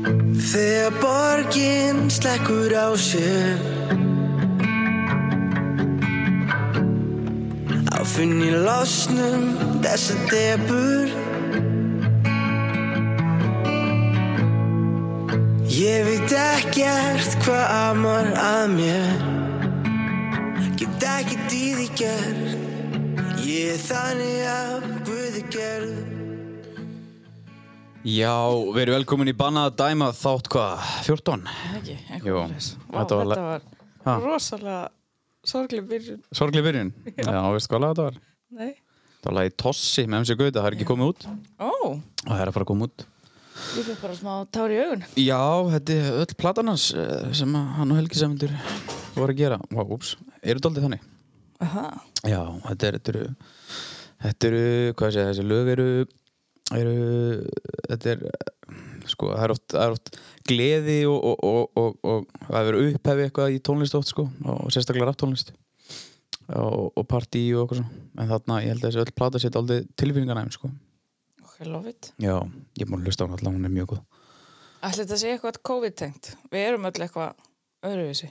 Þegar borgin slekkur á sér Á finn í losnum þessa debur Ég veit ekkert hvað amar að mér Get ekki dýði gerð Ég er þannig að Guði gerð Já, við erum velkomin í Bannað að dæma þátt hvað, 14? ekki, eitthvað Jú, svoleiðis. Vá, þetta þetta var var, le- Ha. rosalega sorglega byrjun Sorgli byrjun? Já, veistu hvað lag þetta var? Nei. Það var lagið Tossi með MC Gauta, það er ekki komið út og Ó, það er að fara að koma út ég fyrir bara smá tár í augun Já, þetta er öll platan hans eh, sem að hann og Helgi Sæmundur voru að gera Vá, úps, eru daldið þannig? Aha. Já, þetta er, þetta eru, þetta eru, hvað sé, þessi lög eru, eru, þetta er, sko, það er oft, það er oft gleði og, og, og, og, og það verður upphefi eitthvað í tónlist oft, sko, og sérstaklega rapptónlist og, og partí og okkur svona, en þarna, ég held að þessi öll plata sétt aldrei tilfinningarnæm, sko. Ok, love it Já, ég múið að hlusta á hann allan, hún er mjög góð. Ætli þetta sé eitthvað COVID-tengt Við erum öll eitthvað öðruvísi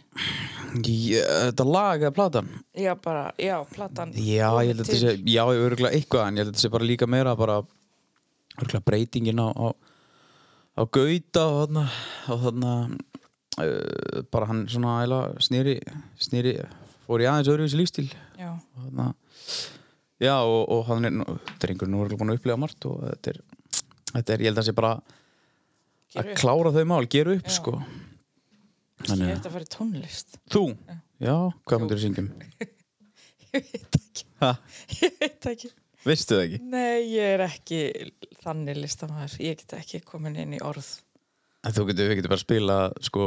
Ég, þetta lag eða platan? Já, bara, já, platan Já, ég held að þetta sé, já, örgulega eitthvað en ég held að þetta sé bara líka meira bara örgulega breytingin á á, á gauta og þarna og þarna uh, bara hann svona æla snýri snýri, fór í aðeins öðruvísi lífstíl Já, og þarna já, og, og hann er, nú- drengur nú er búin að upplega margt og þetta er, þetta er ég held að það sé bara Gera að upp. klára þau mál, gera upp, Já. sko ég Þannig, ætti að fara í tónlist þú, já, hvað um? myndir þú syngjum? Ég veit ekki, Ha, ég veit ekki veistu það ekki? Nei, ég er ekki þannig listamæður Ég get ekki komin inn í orð En þú getur, við getum bara að spila sko,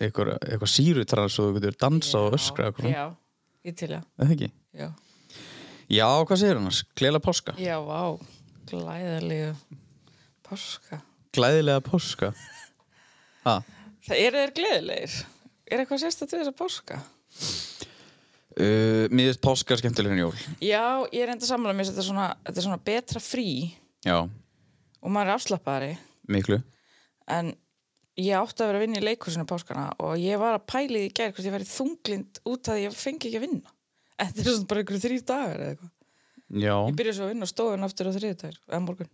eitthvað, eitthvað sírutrans og þú getur dansa og öskra eitthvað. Já, ég til að, Er það ekki? já Já, hvað segir hann? Gleila páska? Já, vá, glæðalegu páska. Glæðilega páska? Ha? Það eru þeir gleðilegir. Er eitthvað sérstætt við þessa páska? Uh, mér finnst páska skemmtilegri en jól. Já, ég er enda sammála mér þetta er svona, þetta er svona betra frí Já, og maður er afslappari miklu. en ég átti að vera að vinna í leikhúsinu páskana og ég var að pæli því í gær hvort ég væri þunglind út að ég fengi ekki að vinna. En þetta er svona bara einhverju þrýr dagar eða eitthvað. Já, Ég byrja svo að vinna og stóðin aftur á þriði dagar eða morgun.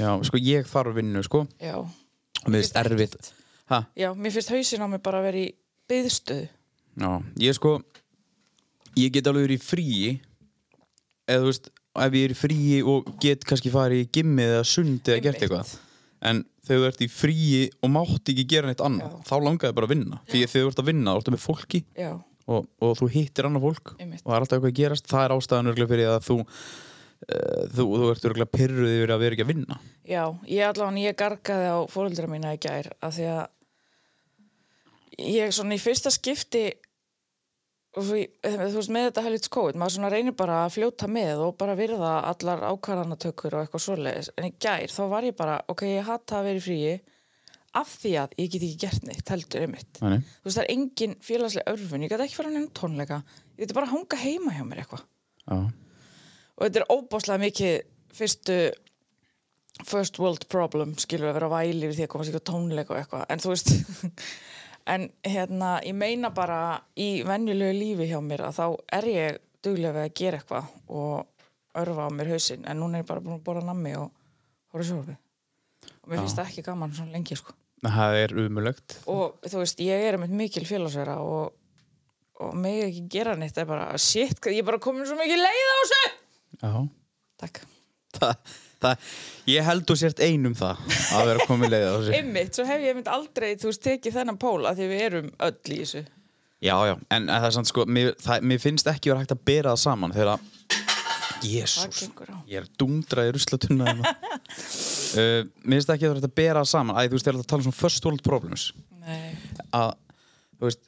já, sko ég þarf vinnu, sko. Já, Og Mér finnst erfitt. Ha? já, mér finnst hausinn á mig bara að vera í byðstöðu. Já, ég sko, ég get alveg verið í fríi, eða þú veist, ef ég er í fríi og get kannski farið í gimmið eða sund eða gert Einmitt. eitthvað en þegar þú ert í fríi og mátt ekki gera neitt annað, þá langaði bara að vinna því að þegar þú ert að vinna, þá ertu með fólki Já, og, og þú hittir annað fólk Einmitt. og það er alltaf eitthvað að gerast, það er ástæðan örgulega fyrir að þú uh, þú, þú ert örgulega pyrruð yfir að vera ekki að vinna Já, ég allavega ég gargaði á fóröldra mína í gær af því að ég svona í fyrsta skipti og svo ég- þú veist með þetta helvits COVID, maður svona reynir bara að fljóta með og bara virða allar ákvarðanatökur og eitthvað svoleiðis, en í gær þá var ég bara, ok, ég hata að vera í fríi af því að ég get ekki gert neitt heldur um mitt, Þannig. þú veist það er engin félagslega örfun, ég get ekki fara neina tónleika ég get bara að hanga heima hjá mér eitthvað Já. og þetta er óbáslega mikið fyrstu first world problem skilur að vera á væli við því að komast ekki á tónleik og eitthvað, en þú veist en hérna, ég meina bara í venjulegu lífi hjá mér að þá er ég duglega við að gera eitthvað og örfa á mér hausinn en núna er ég bara búin að bóla nammi og horfa sjálfi og mér finnst það ekki gaman svona lengi sko það er umulögt og þú veist, ég er með mikil félagsverða og, og mig ekki gera neitt það er bara, shit, hvað- ég er bara komin svo mikið leið á þessu Já. Takk það, það, ég held þú sért einum það að vera komið leið á þessu Einmitt, svo hef ég einmitt aldrei, þú veist, tekið þennan pól að því við erum öll í þessu. Já, já, en það er samt sko Mér, það, mér finnst ekki vera hægt að bera það saman Þegar að, Það jésús gengur á. Ég er dungdrað í ruslatunna uh, Mér finnst ekki vera hægt að bera það saman Æ, þú veist, þegar það tala um svona first world problems Nei. Að, þú veist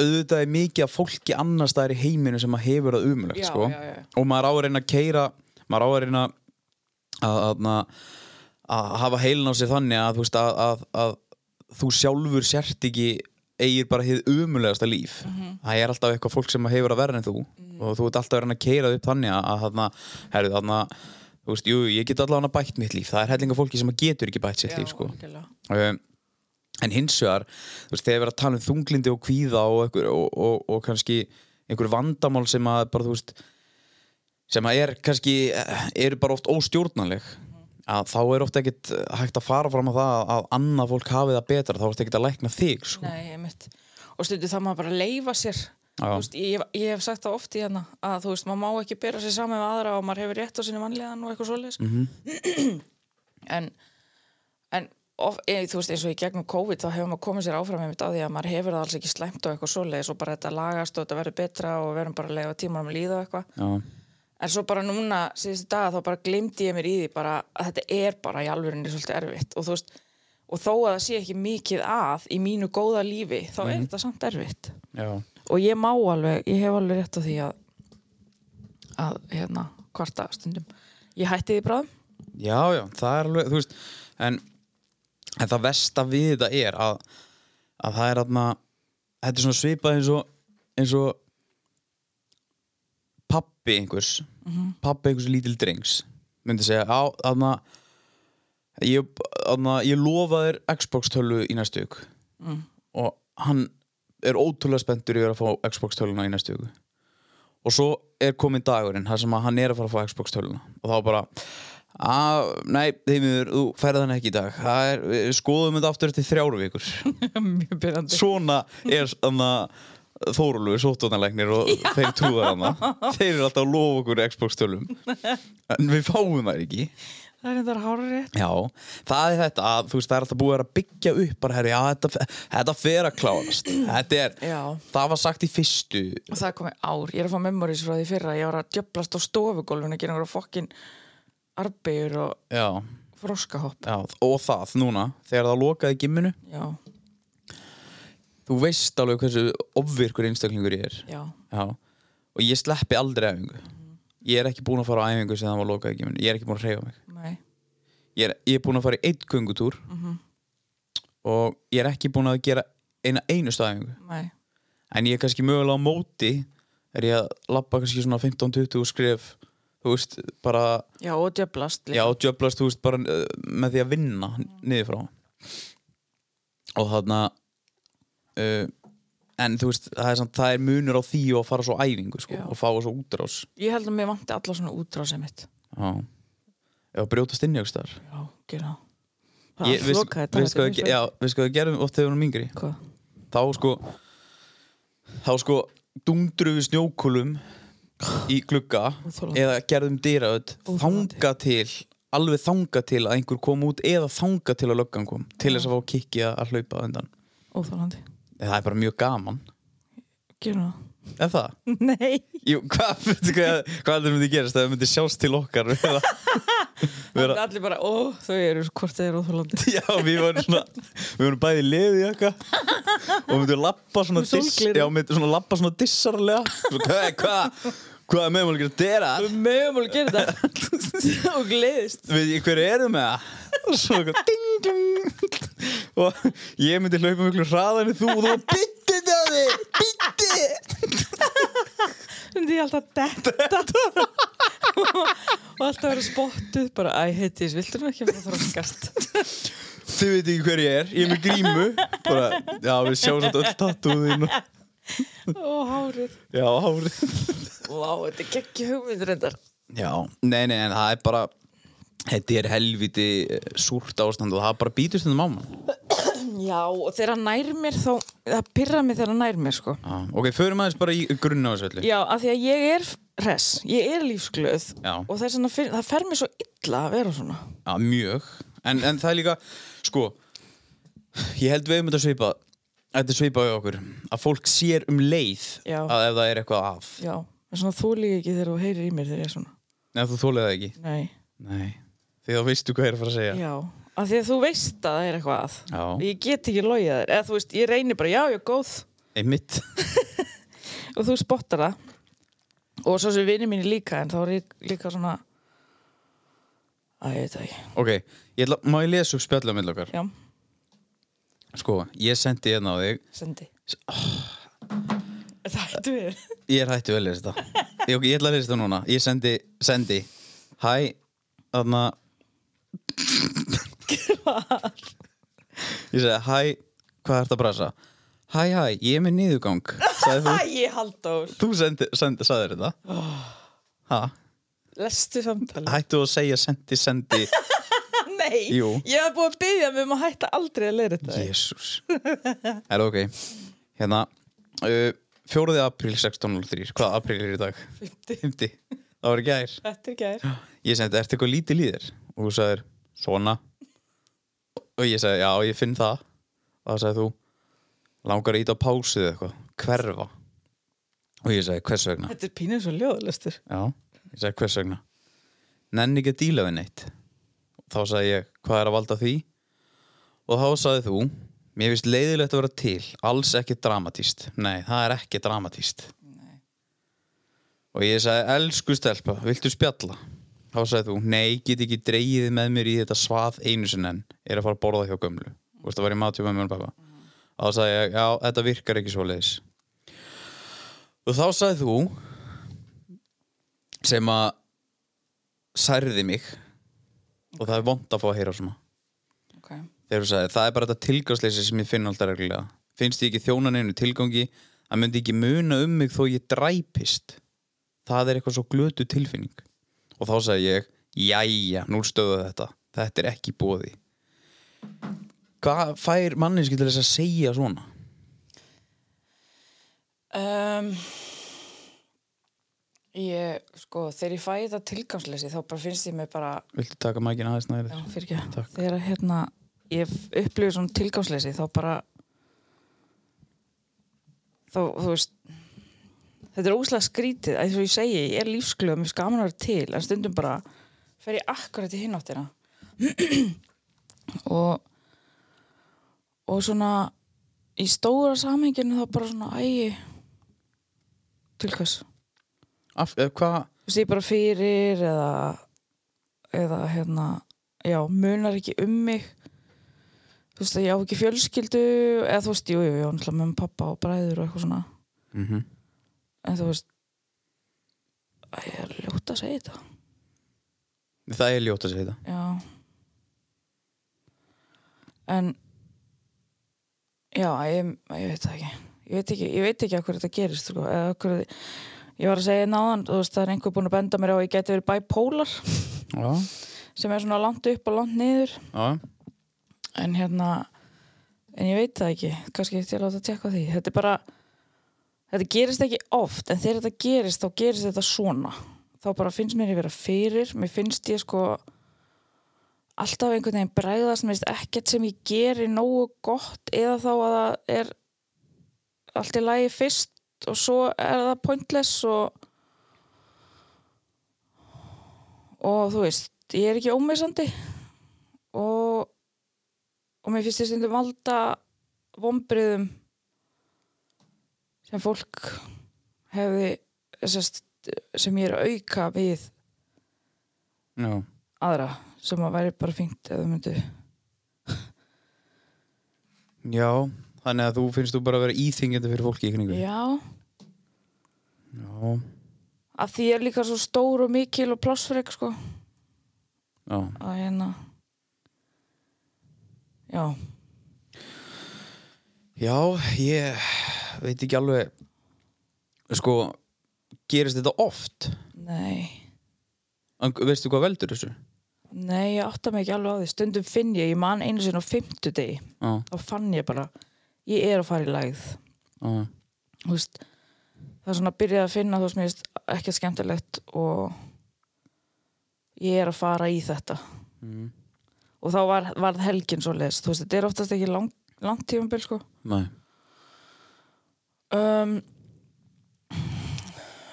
auðvitað er mikið af fólki annars staðar í heiminu sem að hefur það umulegt Já, sko. já, já. og maður á að reyna að keira maður á að reyna að, að, að, að hafa heilin á sér þannig að þú, veist, að, að, að þú sjálfur sért ekki eigir bara hið umulegasta líf Mhm. það er alltaf eitthvað fólk sem hefur að verra en þú og þú ert alltaf að reyna að keira upp þannig að, að þarna, herrðu þarna þú veist, jú, ég get allavega bætt mitt líf það er hellinga fólki sem að getur ekki bætt sitt líf sko. algjörlega. Um, en hins vegar, þú veist, þegar við erum að tala um þunglindi og kvíða og, einhver, og, og, og kannski einhver vandamál sem að bara, þú veist, sem að er kannski, eh, eru bara oft óstjórnanleg að þá er oft ekkit hægt að fara fram á það að annað fólk hafi það betra, þá er ekkit að lækna þig sko. Nei, einmitt. Og stundu það maður bara að leifa sér. Já. Þú Veist, ég, hef- ég hef sagt það oft í hérna að þú veist, maður má ekki bera sér saman með aðra og maður hefur rétt á sinni mannlegan og eitthvað svoleiðis. Mm en en of, e, þú veist, eins og í gegnum COVID þá hefur maður komið sér áfram einmitt að því að maður hefur það alls ekki slæmt og eitthvað svoleiðis og bara þetta lagast og þetta verður betra og við verðum bara að leifa tímanum að líða og eitthvað. Já, En svo bara núna, síðustu daga, þá bara glimti ég mér í því bara að þetta er bara í alvörinni svolítið erfitt og þú veist, og þó að það sé ekki mikið að í mínu góða lífi, þá er þetta samt erfitt. já, Og ég má alveg, ég hef alveg rétt á því að, að hérna, kvarta stundum. Ég hætti því bráðum. já, já, það er alveg, þú veist en, en það versta við þetta er að, að það er aðna þetta er svona svipað eins og eins og pappi einhvers pappi einhvers lítil drengs myndi segja, á, aðna ég, aðna, ég lofa þér Xbox tölu í næstu ykk og hann er ótrúlega spenntur yfir að fá Xbox töluna í næstu viku og svo er komin dagurinn þar sem að hann er að fara að fá Xbox töluna og þá bara að, nei, þeimur, þú ferð hann ekki í dag það er, við skoðum þetta aftur eftir þrjáru vikur Mjög byrjandi. svona er þannig að Þórólfur, sóttónarleiknir og þeir trúðar hana þeir eru alltaf að lofa okkur Xbox tölum en við fáum það ekki Það er þetta hárrið. Já, það er þetta að þú veist það er alltaf búið að vera að byggja upp bara herri, já þetta, þetta fer að klárast þetta er, Já. það var sagt í fyrstu Og það er komið ár. Ég er að fá memories frá því fyrra. Ég var að djöblast á stofugólfinu, gera einhverja fokkin arbegur og já, froskahopp. já, og það núna þegar það lokaði gimminu Já, þú veist alveg hversu ofvirkur einstaklingur ég er já. já. og ég sleppi aldrei æfingu ég er ekki búin að fara á æfingu sem það var lokaði gimminu ég er ekki búin að reyfa mig Nei. ég er, ég er búin að fara í eitt göngutúr og ég er ekki búin að gera eina einustu æfingu Nei. en ég er kannski mögulega á móti er ég að labba kannski svona 15-20 skrif þú veist, bara Já, og djöblast. líka. já, djöblast, þú veist, bara uh, með því að vinna niður frá og þarna uh, en þú veist, það er, samt, það er munur á því og að fara svo á æfingu, sko, Já. og fá svo útrás Ég held að mér vanti alla svona útrásið mitt. já, eða brjótast inn í einhvers staðar. Já, gera það. Það um Ég- er veist- slokaði veist hvað við- sko já, veist hvað við gerum oft þegar við erum yngri Hvað? þá sko þá sko dungdru við snjókulum í glugga Óþolandi. eða gerðum dýraöð þanga til, alveg þanga til að einhver kom út eða þanga til að löggan kom til þess að fá kikki að- að hlaupa á undan Óþálandi. en það er bara mjög gaman Gera það. er það? Nei. Jú, hvað, veitu hvað, hvað þetta myndi gerast ef það myndi sjást til okkar við það Það er allir bara, ó, þau eru hvort þau eru óþálandi. Já, við varum svona Við varum bæði leðið jakka Og myndum lappa svona Með diss sólgleraugun. Já, myndum svona lappa svona dissarlega Svo, Hvað, hvað, hvað er meðmál að gera dera? Við mögum alveg gera þetta. og gleðist. Við, hverju erum með það? Og Svo eitthvað ding, ding Og ég myndi hlaupa miklu hraðan en þú Og þú bytti Daði, bytti Þannig ég alltaf detta. og alltaf vera spottuð, bara, æ, heitis, viltu nú ekki að fara þroskast? Þið veit ekki hver ég er, ég er með grímu Bara, já, við sjáum þetta öll tattúðin og- Ó, hárið. Já, hárið Vá, þetta er geggi hugmyndur endar. Já, nei, nei, en það er bara Þetta er helviti eh, súrt ástand og það bara býtust þetta mamma Já, og þegar hann nær mér þá, það pyrra mig þegar hann nær mér, sko. ah, Ok, förum aðeins bara í grunna á þessu öllu Já, af því að ég er res, ég er lífsglöð Já. og þess vegna finn- það fer mér svo illa að vera svona. Já, mjög en, en það er líka, sko Ég held við um þetta svipa Þetta svipa á okkur Að fólk sér um leið Já. að ef það er eitthvað af Já, en svona þú líka ekki þegar þú heyrir í mér þegar ég er svona. Nei, þú þólið það ekki Nei, Nei, því þá veistu hvað ég er að fara að segja já, af því að þú veist að það er eitthvað að. Já. Ég get ekki logið að þér, eða þú veist, ég reynir bara, já, ég er góð Einmitt og þú spottar það. Og svo sem vinir mínir líka, en þá er ég líka svona, að ég veit það ekki, Ok, ég ætla, má ég lesa upp spjallum með okkar já, Sko, ég sendi hérna á þig sendi. oh. Það hættu við. Ég er hættu að lesa þetta ég, ok, ég ætla að lesa þetta núna Ég sendi, sendi Hæ, þarna Ég segi hæ hvað ert að brasa? Hæ, hæ, ég er með niðurgang sagði þú, Æ, Halldór, þú sendi, sendi, sagðir þetta ha, lestu samtali hættu að segja sendi, sendi Nei, Jú. ég hef búið að byggja mig um að hætta aldrei að leira þetta Jésús er ok, hérna uh, 4. apríl 16.03 hvað apríl er í dag? 50. 50, það var í gær Þetta er gær ég sendi, ertu eitthvað lítið líðir? og þú sagðir, svona og ég sagði, já, ég finn það og það sagði þú langar að íta á pásu eða eitthvað, hverfa og ég sagði, hvers vegna? Þetta er pínum svo ljóð, lestur já, ég sagði, hvers vegna? nenni ekki að díla við neitt þá sagði ég, hvað er að valda því? og þá sagði þú mér finnst leiðilegt að vera til alls ekki dramatíst, nei, það er ekki dramatíst og ég sagði, elsku stelpa, viltu spjalla? Þá sagði þú, nei, get ekki dreigið þig með mér í þetta svað einu sinn en er að fara að borða hjá gömlu. Þú veist, það var í matjum með mér og pappa. Þá sagði ég, já, þetta virkar ekki svoleiðis. Og þá sagði þú, sem að særði mig og það er vond að fá að heyra svona. okay. Þegar þú sagði, það er bara þetta tilgangsleysi sem ég finn alltaf reglulega. Finnst ég ekki þjóna neinu tilgangi, að myndi ekki muna um mig þó ég dræpist. Það er eitthvað svo glötu tilfinning. Og þá sagði ég, jæja, nú stöðu þetta. Þetta er ekki bóði. Hvað fær manninski til þess að segja svona? um, Ég, sko, þegar ég fæ þetta tilgangsleysi þá bara finnst ég mig bara Viltu taka mækina aðeins næri? Já, fyrir ekki Takk. Þegar að, hérna, ég upplifið svona tilgangsleysi þá bara þá, þú veist þetta er óslega skrítið að því ég segi, ég er lífsglöð mér skaman að vera til, en stundum bara fer ég akkurat í hináttina og og svona í stóra samhenginu þá bara svona ægi til hvers Af, eh, hvað? þú veist, ég bara fyrir eða eða hérna já, munar ekki um mig þú veist, að ég á ekki fjölskyldu eða þú veist, jú, jú, jú, náttúrulega með pappa og bræður og eitthvað svona Mm en þú veist að ég er ljótt að segja þetta Það er ljótt að segja þetta. já en já, ég, ég veit það ekki ég veit ekki, ég veit ekki að hverju þetta gerist sko, eða hverju ég var að segja náðan, þú veist, það er einhver búin að benda mér á að ég geti verið bipolar Já. sem er svona langt upp og langt niður Já. en hérna en ég veit það ekki, kannski til að láta tjekka á því þetta er bara þetta gerist ekki oft, en þegar þetta gerist þá gerist þetta svona þá bara finnst mér ég vera fyrir, mér finnst ég sko alltaf einhvern veginn bregðast, mér finnst ekkert sem ég geri nógu gott eða þá að það er allt í lagi fyrst og svo er það pointless og og þú veist, ég er ekki ómissandi og og mér finnst ég stundum valda vombriðum sem fólk hefði sest, sem ég er að auka við Já. aðra sem að væri bara fínt eða myndu Já. Þannig að þú finnst þú bara að vera íþingjandi fyrir fólki í kringu. já, Já. að því ég er líka svo stór og mikil og plássfrek sko Já. að hérna já, Já, ég veit ekki alveg sko, gerist þetta oft nei en veistu hvað veldur þessu? nei, ég átta mig ekki alveg á því stundum finn ég, ég man einu sinni á fimmtudegi Já, þá fann ég bara, ég er að fara í lægð já, þú veist, það er svona að byrja að finna þú veist, mér veist ekki skemmtilegt og ég er að fara í þetta Mm. og þá var, varð helgin svo leist, þú veist, þetta er oftast ekki lang, langt tímabil sko nei um,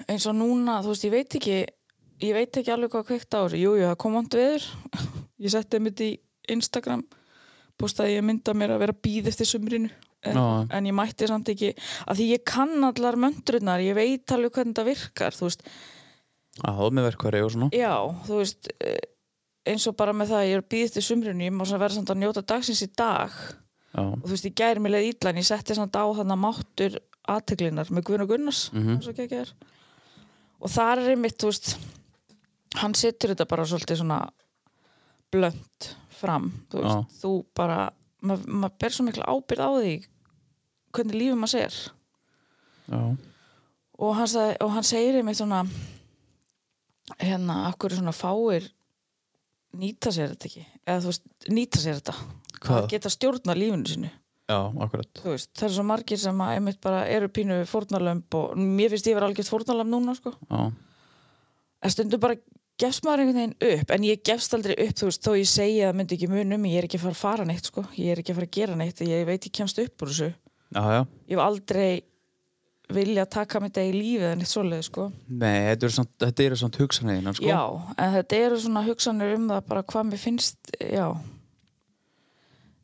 eins og núna, þú veist, ég veit ekki ég veit ekki alveg hvað kveikt á þessu jú, jú, það kom vond veður ég setti einmitt í Instagram postaði ég mynda mér að vera býð eftir sumrinu en, Já. en ég mætti samt ekki að því ég kann allar möndrunar ég veit alveg hvernig þetta virkar þú veist, Já, það með verkværi og svona já, þú veist eh, eins og bara með það að ég er býð eftir sumrinu ég má svona vera samt að njóta dagsins í dag Já, og þú veist, ég gæri mér leið illa en ég setti samt á þannig máttur aðteglinar með Guðn og Gunnars Mhm. eins og geggjaður. og þar er einmitt, þú veist hann setur þetta bara svolítið svona blönd fram, þú veist, þú bara maður ma ber svo mikla ábyrð á því hvernig lífið maður segir já, og hann, sagði, og hann segir einmitt svona hérna, af hverju svona fáir nýta sér þetta ekki eða þú veist, nýta sér þetta Hvað? að geta stjórna lífinu sinu já, akkurat þú veist, það er svo margir sem að einmitt bara eru pínu fórnarlömb og mér finnst ég vera algjört fórnarlömb núna sko. já, en stundum bara gefst maður einhvern veginn upp en ég gefst aldrei upp, þú veist, þó ég segi að það myndi ekki munum, ég er ekki að fara að fara neitt sko. ég er ekki að fara að gera neitt, ég veit ég kemst upp úr þessu, já, já ég hef aldrei vilja taka mig þetta í lífið en eitt svoleið, sko. nei, þetta eru samt, þetta eru samt hugsanæðina sko. já, en þetta eru svona hugsanir um það bara hvað mér finnst, já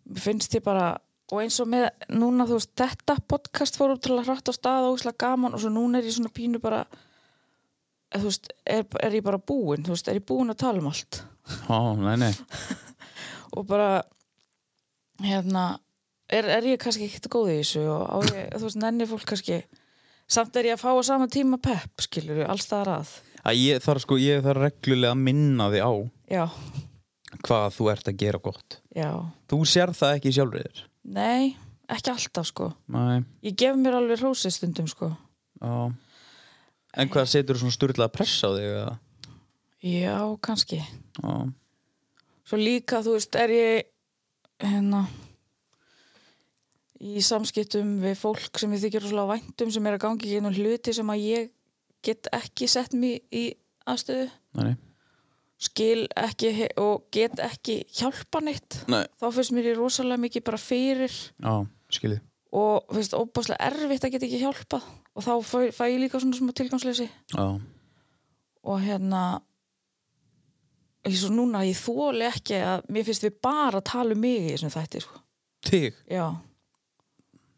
mér finnst ég bara og eins og með, núna þú veist þetta podcast fór upp til að hratt á stað og úslega gaman og svo núna er ég svona pínu bara eh, þú veist, er, er ég bara búin þú veist, er ég búin að tala um allt já, nei, nei og bara hérna, er, er ég kannski ekkert góð í þessu og á ég, þú veist, nenni fólk kannski samt er ég að fá á sama tíma pepp, skilur við, alls staðar að að ég þarf sko, ég þarf reglulega að minna þig á já, hvað þú ert að gera gott já, þú sér það ekki sjálfur þér nei ekki alltaf sko nei, Ég gef mér alveg rósið stundum sko. já en hvað setur þú svona styrlaða pressa á þig eða? Já, kannski. já, Svo líka, þú veist, er ég hérna í samskiptum við fólk sem ég þykir rosalega væntum sem er að gangi í einhvern hluti sem að ég get ekki sett mér í aðstöðu, nei, skil ekki he- og get ekki hjálpa neitt. nei Þá finnst mér ég rosalega mikið bara fyrir já, skilji, og finnst óbáslega erfitt að geta ekki hjálpað og þá fæ, fæ ég líka svona smá tilgangsleysi. já, og hérna ég svo núna, ég þóli ekki að mér finnst við bara að tala um mig í þessum þætti, sko. þig Já.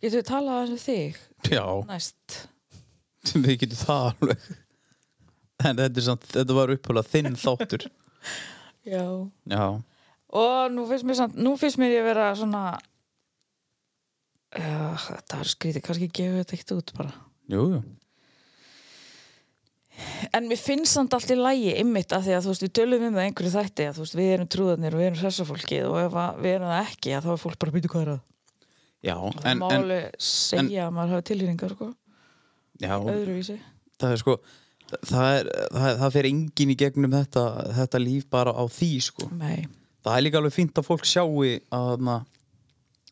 Getur við talað aðeins um þig já, næst? við getum það alveg en þetta, er samt, þetta var upphóla þinn þáttur Já. já, Og nú finnst mér samt, nú finnst mér ég vera svona Já, þetta er skrítið, kannski gefur þetta ekkert út bara. jú, jú En mér finnst samt allt í lægi ymmit að því að þú veist, við tölum um það í einhverju þætti að þú veist, við erum trúðanir og við erum hressafólkið og ef að við erum það ekki, að þá er fólk bara býtu hvað er að. já, Það en, má en alveg segja að maður hafa tilhýringar, sko. já, öðruvísi það er sko það, er, það, það fer engin í gegnum þetta, þetta líf bara á því sko. Nei, það er líka alveg fínt að fólk sjáu að, na,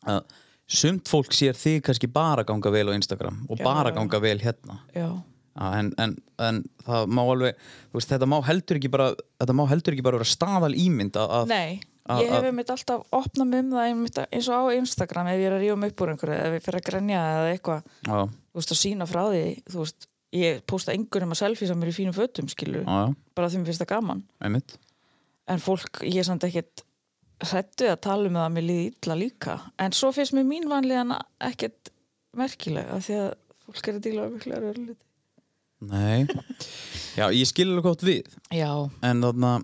að sumt fólk sér þig kannski bara ganga vel á Instagram og Já, bara já. ganga vel hérna já, Já, en, en, en það má alveg þú veist, þetta má heldur ekki bara þetta má heldur ekki bara vera staðal ímynd að, að nei að- ég hef að- einmitt alltaf opnað mig um það einmitt að- eins og á Instagram ef ég er að rífa mig upp úr einhverju ef ég fer að grenja eða eitthvað já, þú veist að sína frá því þú veist, ég posta einhverjum að selfie sem er í fínum fötum skilur, já, já, bara því mér finnst það gaman einmitt en fólk, ég er samt ekkit hrættu að tala um það að mér líði illa líka en svo finnst mér mín vanlíðan ekkit merkilega því að fólk er að díla um miklu örlít Nei, já ég skil alveg gott við Já, en þarna,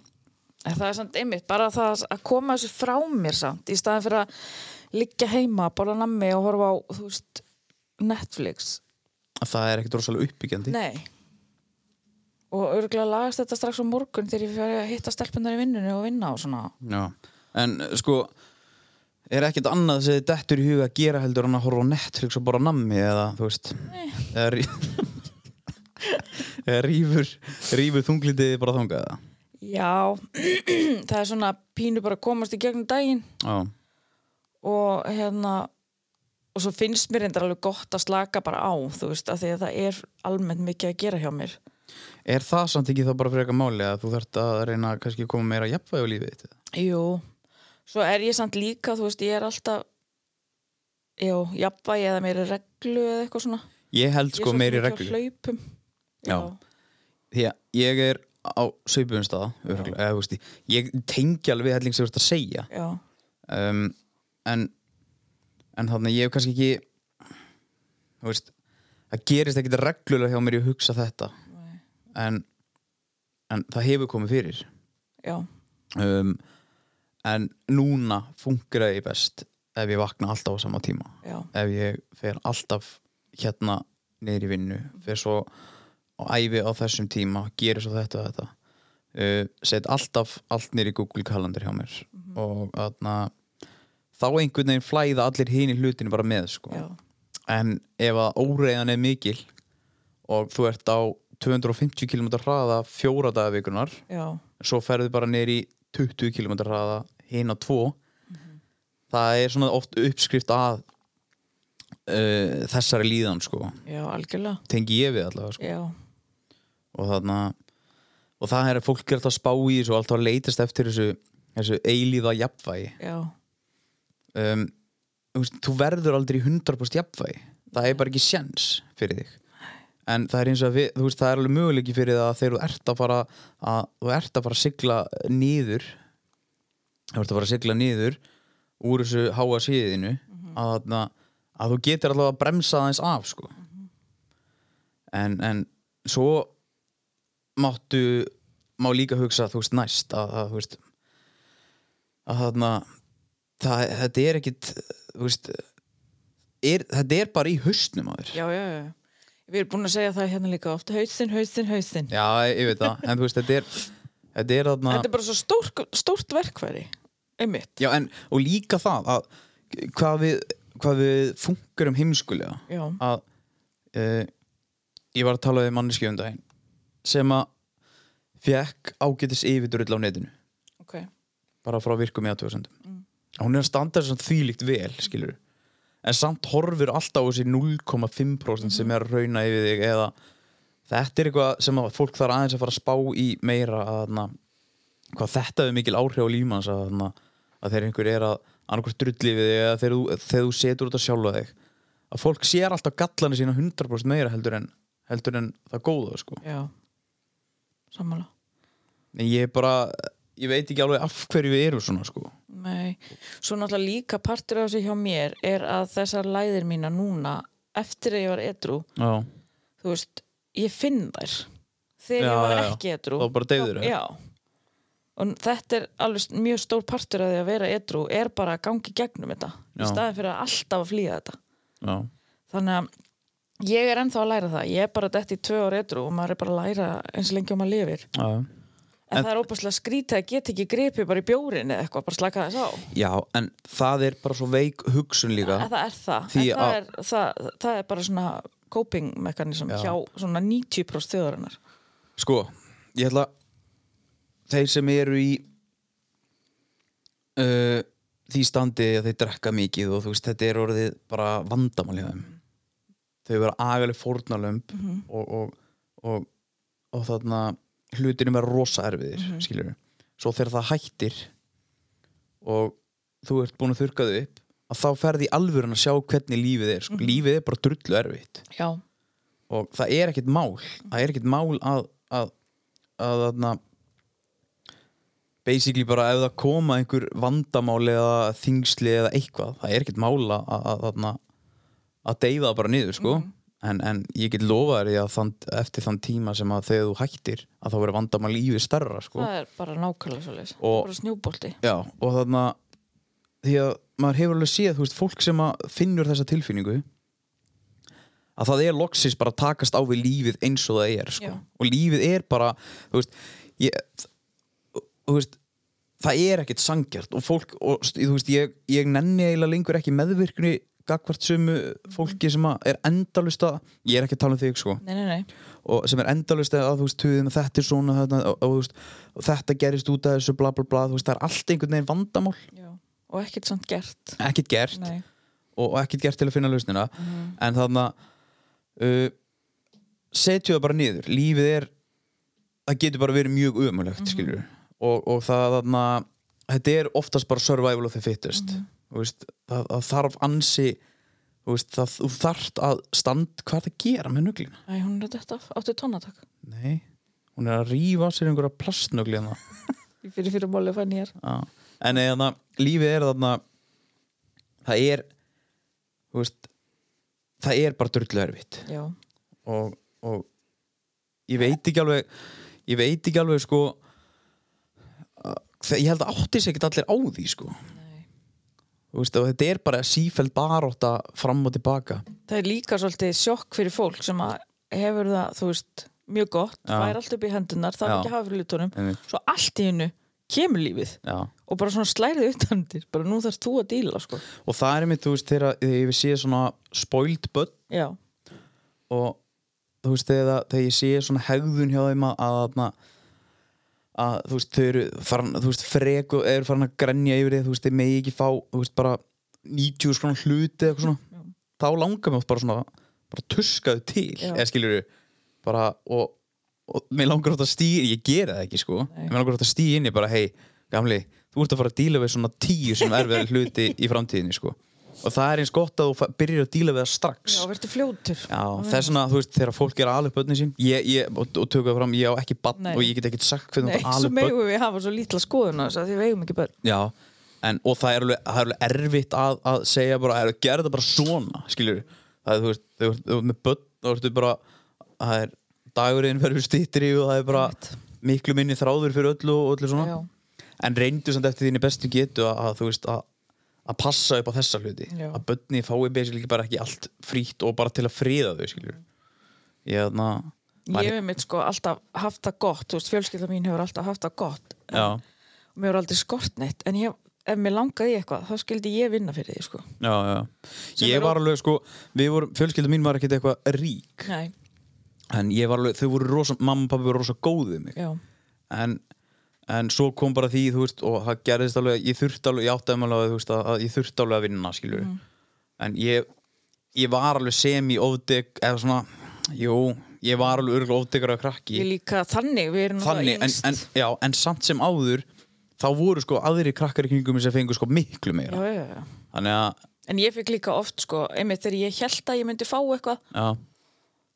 En það er samt einmitt, bara það að koma þessu frá mér samt í staðin fyrir að liggja heima, borða nammi og horfa á, þú veist, Netflix. það er ekkert rosalega uppbyggjandi Nei. Og örgulega lagast þetta strax á morgun þegar ég fyrir að hitta stelpunar í vinnunni og vinna og svona. Já, en eh, sko er ekkert annað sem þið dettur í huga að gera heldur en að horfa á Netflix og bara nammi eða þú veist eða, rí... eða rífur rífur þunglitið bara þangað eða? Já, það er svona pínu bara að komast í gegnum daginn Já, og hérna og svo finnst mér reyndar alveg gott að slaka bara á, þú veist, af því að það er almennt mikið að gera hjá mér. er það samt ekki þá bara fyrir eitthvað máli að þú þarft að reyna að kannski koma meira jafnvæg á lífið þitt eða? Jú, svo er ég samt líka, þú veist, ég er alltaf já, jafnvægi eða meiri reglu eða eitthvað svona. Ég held Ég er sko svo meiri mikið á reglu Hlaupum. Já. því að ég er á sveipum staða örugglega, eða, þú veist, ég tengi alveg við helling sem þú ert að segja Já, um, en en þannig ég hef kannski ekki þú veist það gerist ekkit reglulega hjá mér ég hugsa þetta Nei. en, en það hefur komið fyrir já, um, en núna fungur ég best ef ég vakna alltaf á sama tíma já, ef ég fer alltaf hérna niður í vinnu fer svo á æfi á þessum tíma gerir svo þetta og þetta uh, set alltaf allt niður í Google Calendar hjá mér og þarna þá einhvern veginn flæða allir hinn í hlutinu bara með sko. Já. en ef að óreiðan er mikil og þú ert á 250 km hraða fjóra daga vikunar já, svo ferðu bara neyri í 20 km hraða hinn á 2 það er svona oft uppskrift að uh, þessari líðan sko já, algjörlega tengi ég við allavega sko. já, og þarna og það er að fólk er alltaf að spá í þessu og alltaf að leitast eftir þessu, þessu eilíða jafnvægi já, um, þú, veist, þú verður aldrei í 100% jafnvægi það er bara ekki sjens fyrir þig en það er eins og að við, þú veist, það er alveg möguleiki fyrir það að þegar þú ert að fara að, þú ert að fara að sigla nýður þú ert að fara að sigla nýður úr þessu háa síðinu að, þarna, að þú getur allavega að bremsa aðeins af sko. en, en svo máttu má líka hugsa þú veist næst að, að, þú veist, að þarna það, þetta er ekkit þú veist, er, þetta er bara í haustnum á þér já, já, já. Við erum búin að segja það hérna líka oft hausinn, hausinn, hausinn Já, ég veit það, en þú veist, þetta er þetta er þarna Þetta er bara svo stórt, stórt verkværi einmitt, Já, en, og líka það að hvað við, hvað við funkurum heimskulega já, að uh, ég var að tala við manneski um daginn sem að fekk ágætis yfirdrull á netinu ok bara frá virkum í aðtöðasendum hún er að standa þess að þvílíkt vel skilur en samt horfur alltaf á þessi 0,5% sem er að rauna yfir þig eða þetta er eitthvað sem að fólk þarf aðeins að fara að spá í meira að þarna, hvað þetta er mikil áhrif á lífmanns að, þarna, að þegar einhver er að annarkvært drulli við þig eða þegar þú, þegar þú setur út að sjálfa þig að fólk sér alltaf gallana sína 100% meira heldur en, heldur en það góða sko. já, sammála en ég bara, ég veit ekki alveg af hverju við erum svona sko. Nei, svo náttúrulega líka partur af þessu hjá mér er að þessar læðir mína núna eftir að ég var edru, Já þú veist, ég finn þær þegar Já, ég var já, já. ekki edru. Þá bara deyfðir þær. Já, og þetta er alveg s- mjög stór partur af því að vera edru er bara að gangi gegnum þetta Já. í staðin fyrir að alltaf að flýja þetta. Já, Þannig að ég er ennþá að læra það, ég er bara dætt í tvö ár edru og maður er bara að læra eins lengi og maður lifir. já. En, það er óbúslega skrítið að geta ekki gripið bara í bjórin eða eitthvað, bara slaka þess á. Já, en það er bara svo veik hugsun líka En það er það, Því en það, að- er, það, það er bara svona coping mekanism hjá svona 90% þjóðarinnar Sko, ég ætla Þeir sem eru í uh, Því standi að þeir drekka mikið Og þú veist, þetta er orðið bara vandamál hjá þeim Þau vera agaleg fórnalömb og, og, og, og þarna Hlutinu vera rosa erfiðir mm Svo þegar það hættir Og þú ert búin að þurrka þau upp að þá ferði í alvörun að sjá hvernig lífið er sko. lífið er bara drullu erfitt Já, og það er ekkert mál það er ekkert mál að að, að, að basically bara ef það koma einhver vandamál eða þingsli eða eitthvað, það er ekkert mál að að, að, að deyfa það bara niður sko en, en ég get lofað þér því að þann, eftir þann tíma sem að þegar þú hættir að þá verður vandamál lífið starra sko það er bara nákvæmlega svo leys Og- bara snjúbolti Já, og þarna því að maður hefur alveg séð, þú veist, fólk sem að finnur þessa tilfinningu að það er loksins bara að takast á við lífið eins og það er sko. Já. og lífið er bara þú veist, ég, þú veist það er ekkert sangjart og fólk, og, þú veist, ég, ég nenni eiginlega lengur ekki meðvirkni gagvart sömu fólki sem að er endalust að, ég er ekki að tala um þig sko Nei, nei, nei, og sem er endalust að þú veist tuðið með þetta er svona þetta, og, og, þú veist, og þetta gerist út af þessu bla bla bla þú veist það er allt einhvern veginn vandamál Já. og ekkert samt gert ekkert gert Nei, og, og ekkert gert til að finna lausnina en þannig að uh, setju það bara niður lífið er, það getur bara verið mjög umulegt mm skilur og, og það þannig að þetta er oftast bara survival of the fittest þú veist, það, það þarf ansi þú veist, það, þú þarft að stand hvað er það að gera með nuglina Æ, hún er þetta af, áttu tónatak Nei, hún er að rífa af sér einhverja plastnögli hérna. Ah. Í fyrir fyrir máli fann ég Já. En eða, lífið er þarna það er þú veist, það er bara drullu erfitt Já, og, og ég veit ekki alveg ég veit ekki alveg sko að- það- ég held að átti sér ekki allir á því sko nei Þú veist, og þetta er bara sífæld baróta fram og tilbaka Það er líka svolítið sjokk fyrir fólk sem að hefur það, þú veist, mjög gott Já. fær allt upp í hendunar, það er Já. ekki að hafa fyrir litunum Einmitt. svo allt í hennu kemur lífið Já, og bara svona slærið utandir bara nú þarfst þú að díla sko og það er mitt, þú veist, þegar þegar ég sé svona spoilt börn já, og þú veist, þegar, það- þegar ég sé svona hegðun hjá þeim að, að, þarna- að þú veist, þau eru farin, þú veist, frek og eru farin að grenja yfir þið, þú veist, þeir megi ekki fá, þú veist, bara 90 skrona hluti eða eitthvað svona, þá langar mér oft bara svona, bara tuskaðu til, Já. eða skilur bara, og, og mér langar oft að stíða, ég gera það ekki, sko, Nei. mér langar oft að stíða inn í bara, hei, gamli, þú ert að fara að díla við svona tíu sem erfiðar hluti í framtíðinni, sko, og það er eins gott að þú fa- byrjir að díla við það strax. já verður fljótur Já, þess vegna, þú veist, þegar fólk er að alveg börnin sín ég, ég, og, og tökum það fram, ég á ekki bann Nei. og ég get ekkert sagt Nei, hvernig það svo alveg börn megum við hafa svo lítla skoðun á þessu að því við eigum ekki börn Já, en, og það er alveg, það er alveg erfitt að, að segja bara, er, gera þetta bara svona skiljur, það er, þú veist, þegar þú ert með börn þá ertu bara, það er dagurinn verður stýttri og það er bara miklu minni þráður fyrir öllu og öllu svona Já. en reyndu samt eftir þínu bestu getu að, að þú veist, að, að passa upp á þessa hluti, Já. að börni fái basically bara ekki allt frítt og bara til að friða þau, skiljur ég, þarna, ég hef mitt sko alltaf haft það gott þú veist, fjölskylda mín hefur alltaf haft það gott Já, og mér hefur aldrei skort neitt en ég, ef mér langaði í eitthvað, þá skildi ég vinna fyrir því sko já, já Sem Ég er var ó- alveg sko, við vorum, fjölskylda mín var ekkert eitthvað rík Nei, En ég var alveg, þau voru rosa, mamma og pappi voru rosa góðið mig já, en, en svo kom bara því, þú veist, og það gerðist alveg Ég þurfti alveg, ég átti að alveg, þú veist, að, að ég þurfti alveg að vinna, skiljur Mm. En ég, ég var alveg sem í ofdeg, eða svona, jú, ég var alveg örgulega ofdegar að krakki ég líka þannig við erum Þannig, náttúrulega en, yngst. en, já, en samt sem áður Þá voru sko aðri krakkar í kringum mig sem fengu sko miklu meira já, já, já. Þannig að, en ég fikk líka oft sko, einmitt þegar ég held að ég myndi fá eitthvað já,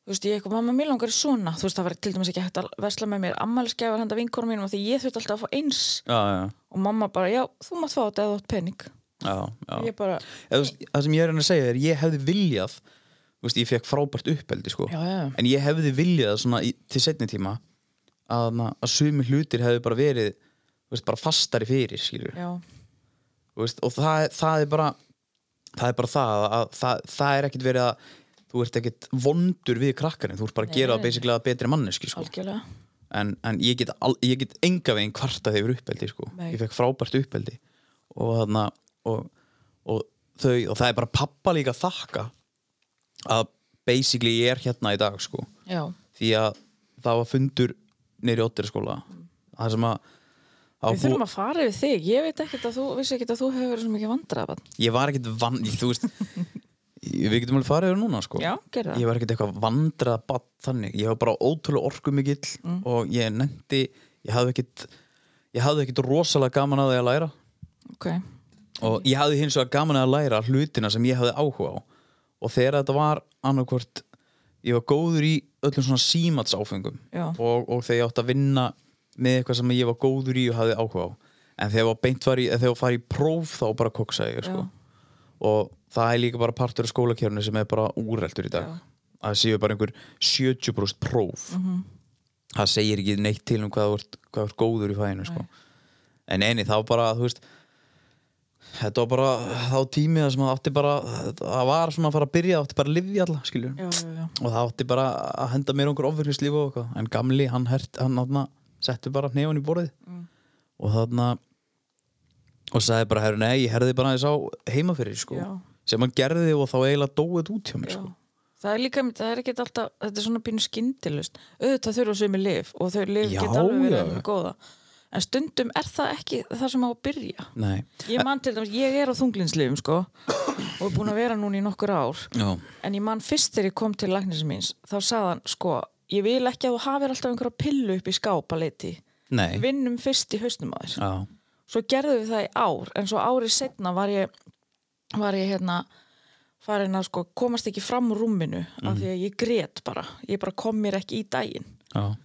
þú veist, ég eitthvað, mamma, mér langar í svona þú veist, það var til dæmis ekki hægt að vesla með mér ammælskefar handa vinkonum mínum og því ég þurfti alltaf að fá eins já, já, og mamma bara, já, þú mátt fá þetta eða þú átt pening já, já. ég bara, Eða, þú veist, það sem ég er að reyna að segja er ég hefði viljað þú veist, ég fekk frábært uppeldi sko. Já, já. en ég hefði viljað svona, í, til setni tíma að, na- að sumi hlutir hefði bara verið þú veist, bara fastari fyrir skilur, já, Þú veist, og það, það er bara það er bara það að, að, það, það er ekkit verið að þú ert ekkit vondur við krakkarinn þú ert bara að gera Nei. það basically að betri manneski sko. algjörlega en, en ég get, al, ég get enga veginn kvarta þegar uppeldi sko. Nei. ég fekk frábært uppeldi og, þarna, og, og, þau, og það er bara pappa líka að þakka að basically ég er hérna í dag sko. já, því að það var fundur nýri óttir skóla það sem að það var við þurfum að fara yfir þig ég veit ekkert að þú, vissi ekkert að þú hefur verið svo mikið vandrað ég var ekkit vann ég, þú veist, ég, við getum alveg farið yfir núna sko. Já, gerðu það. ég var ekkit eitthvað vandrað bann þannig, ég var bara ótrúlega orkumikill Mm. og ég nefndi ég hafði ekkit ég hafði ekkit rosalega gaman að því að læra ok, og ég hafði hins vegar gaman að læra hlutina sem ég hafði áhuga á og þegar þetta var annarkvort ég var góður í öllum svona símatsáfengum Já. og, og þegar ég átti að vinna með eitthvað sem ég var góður í og hafði áhuga á en þegar var beint var í, en þegar var farið í próf þá bara koksa ég sko. og það er líka bara partur af skólakerfinu sem er bara úreldur í dag Já. að séu bara einhver 70% próf -hmm. það segir ekki neitt til um hvað þú ert, hvað þú ert góður í fæðinu sko. en eini þá bara þú veist þetta var bara þá tími það sem það átti bara það var svona að fara að byrja, það átti bara að lifja alla skiljum, já, já, já og það átti bara að henda mér einhver ofurfislíf og eitthvað en gamli, hann, hert, hann þarna, setti bara hnefann í borðið Mm. og þarna og sagði bara, herru, nei, ég herði bara aðeins á heima fyrir, sko, Já. sem hann gerði og þá eiginlega dóið þetta út hjá mér, Já. sko Það er líka, það er ekki alltaf, þetta er svona pínu skyndilust. Auðvitað þurfa sömu lif og þau lif Já, geta alveg verið já. alveg góða. En stundum er það ekki það sem á að byrja. nei, Ég man til dæmis, ég er á þunglinslifum sko og er búin að vera núna í nokkur ár. já, En ég man fyrst þegar ég kom til læknis míns, þá sagði hann sko, ég vil ekki að þú hafir alltaf einhverja pillu upp í skáp að leiti. nei Vinnum fyrst í hausnum að þér já, svo gerðum við það í ár en svo árið setna var ég var ég hérna farin að sko komast ekki fram úr rúminu af því að ég grét bara, ég bara kom mér ekki í daginn já,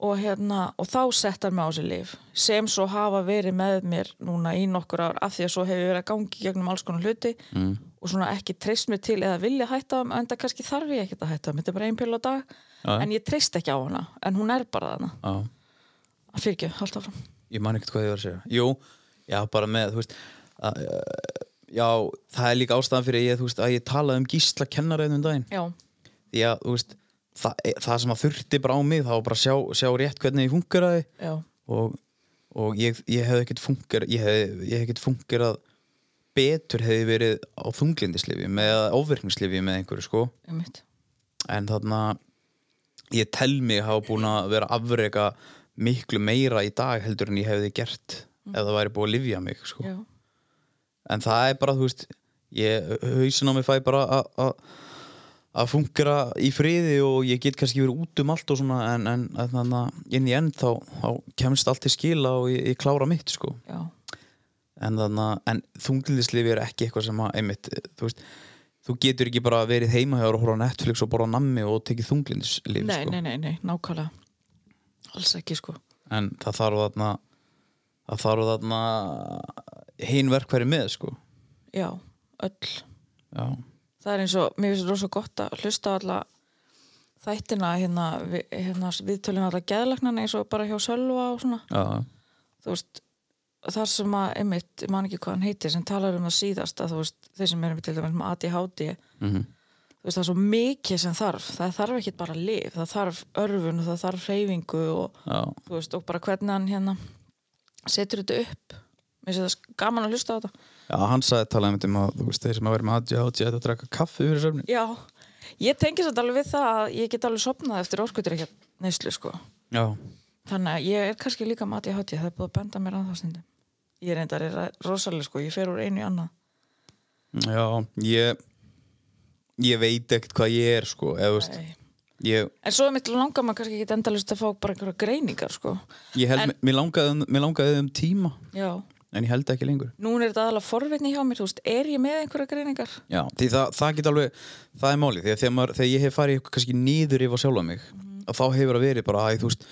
og hérna, og þá sett hann mig á sér lif sem svo hafa verið með mér núna í nokkur ár, af því að svo hef ég verið að gangi gegnum alls konar hluti mm. og svona ekki treyst mér til eða vilja hætta þeim, en það kannski þarf ég ekkert að hætta þeim, þetta er bara ein pil á dag Já. en ég treyst ekki á hana, en hún er bara þarna já fyrir ekki, halda áfram ég man ekkert hvað ég var að segja jú, já bara með þú veist að, eh, já, það er líka ástæðan fyrir að ég, þú veist, að ég talaði um gísla kennara einnum daginn já, því að þú veist, e, það, það sem að þurfti bara á mig þá var bara að sjá, sjá rétt hvernig ég fungeraði já, og, og ég, ég hefði ekkert fungerað ég hefði hef ekkert fungerað betur hefði verið á þunglindislifjum eða ofverkningslifjum með einhverju sko einmitt. en þarna ég tel mig hafa búin að vera afrega miklu meira í dag heldur en ég hefði gert ef það væri búið að lifja mig sko. Mm. Já. en það er bara, þú veist ég, hausin á mig fæ bara að- að að fungera í friði og ég get kannski verið út um allt og svona en, en þannig að inn í end þá, þá kemst allt til skila og ég, ég klára mitt sko Já. en þannig að, en þunglindislifi er ekki eitthvað sem að, einmitt, þú veist þú getur ekki bara verið heima hjá þér og horfa á Netflix og borða nammi og tekið þunglindislifi Nei, sko. nei, nei, nei, nákvæmlega Alls ekki sko en það þarf þarna það þarf þarna hinn verkfæri með sko Já, öll já, Það er eins og, mér finnst rosa gott að hlusta á alla þættina hérna, við, hérna viðtölin alla geðlagnana eins og bara hjá Sölva og svona já, þú veist, þar sem að einmitt, ég man ekki hvað hann heitir, sem talar um það síðast að þú veist, þeir sem erum til dæmis með ADHD mm þú veist, það er svo mikið sem þarf það þarf ekki bara lif, það þarf örfun og það þarf hreyfingu og, já, þú veist, og bara hvernig hann hérna setur þetta upp mér finnst það gaman að hlusta á þetta já, hann sagði talað einmitt um að, þú veist, þeir sem að vera með ADHD ættu að drekka kaffi fyrir söfni Já, ég tengi þetta alveg við það að ég get alveg sopnað eftir orkutur ekki neyslu sko. já, Þannig að ég er kannski líka mati í hátíð, það er búið að benda mér að það stundum. Ég reyndar er rosalega sko, ég fer úr einu í annað. já, ég ég veit ekkert hvað ég er sko, eða, þú veist, Nei. ég En svo er mitt langar maður kannski ekki endalist að fá bara einhverja greiningar sko. Ég held, En- mér langaði, um- mér langaði um tíma Já, en ég held ekki lengur nú er þetta aðalega forvitni hjá mér, þú veist, er ég með einhverja greiningar? Já, því það, það geta alveg, það er málið því að þegar, maður, þegar ég hef farið eitthvað kannski nýður yfir sjálfa mig að þá hefur að verið bara að þú veist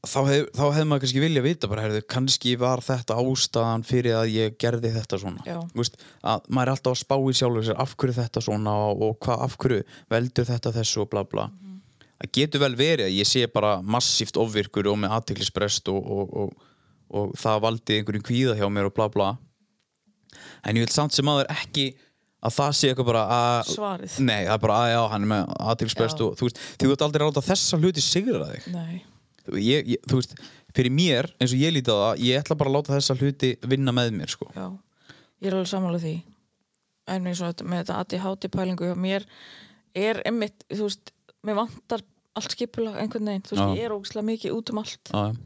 þá, hef, þá hefði maður kannski vilja vita bara herðu, kannski var þetta ástæðan fyrir að ég gerði þetta svona Já. Þú veist, að maður er alltaf að spá í sjálfu sér af hverju þetta svona og, og hvað af hverju veldur þetta þessu og bla bla það getur vel verið að ég sé bara massíft ofvirkur og með aðtiklisbrest og, og, og, og það valdi einhverjum kvíða hjá mér og bla bla en ég vil samt sem aður ekki að það sé eitthvað bara að Svarið. nei, það er bara að já, hann er með aðtiklisbrest Já. og þú veist, þú veist aldrei að láta þessa hluti sigra þig Nei, Þú- ég, ég, þú veist, fyrir mér, eins og ég lítið á það ég ætla bara að láta þessa hluti vinna með mér sko. já, ég er alveg sammála því. En eins og þetta- með þetta aðti hátíð pælingu hjá mér er einmitt, þú veist, mér vantar allt skipulag einhvern veginn, þú veist, Já. ég er ógislega mikið út um allt. Já, já.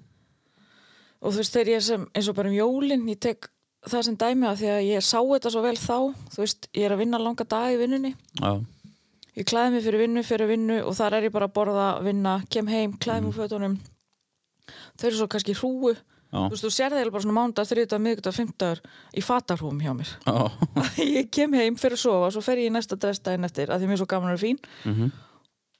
og þú veist þegar ég er sem eins og bara um jólin ég tek það sem dæmi að því að ég sá þetta svo vel þá þú veist ég er að vinna langa dag í vinnunni já, ég klæði mig fyrir vinnu, fyrir vinnu og þar er ég bara að borða, vinna, kem heim klæði Mm. mig úr fötunum þau eru svo kannski í hrúu já, þú veist þú sér þeir bara svona mándag, þriðdag, miðgudag, fimmdagur í fatarhúum hjá mér já. ég kem heim, fyrir að sofa, svo fer ég í næsta dressdaginn eftir að því mér er svo gaman og fín Mhm.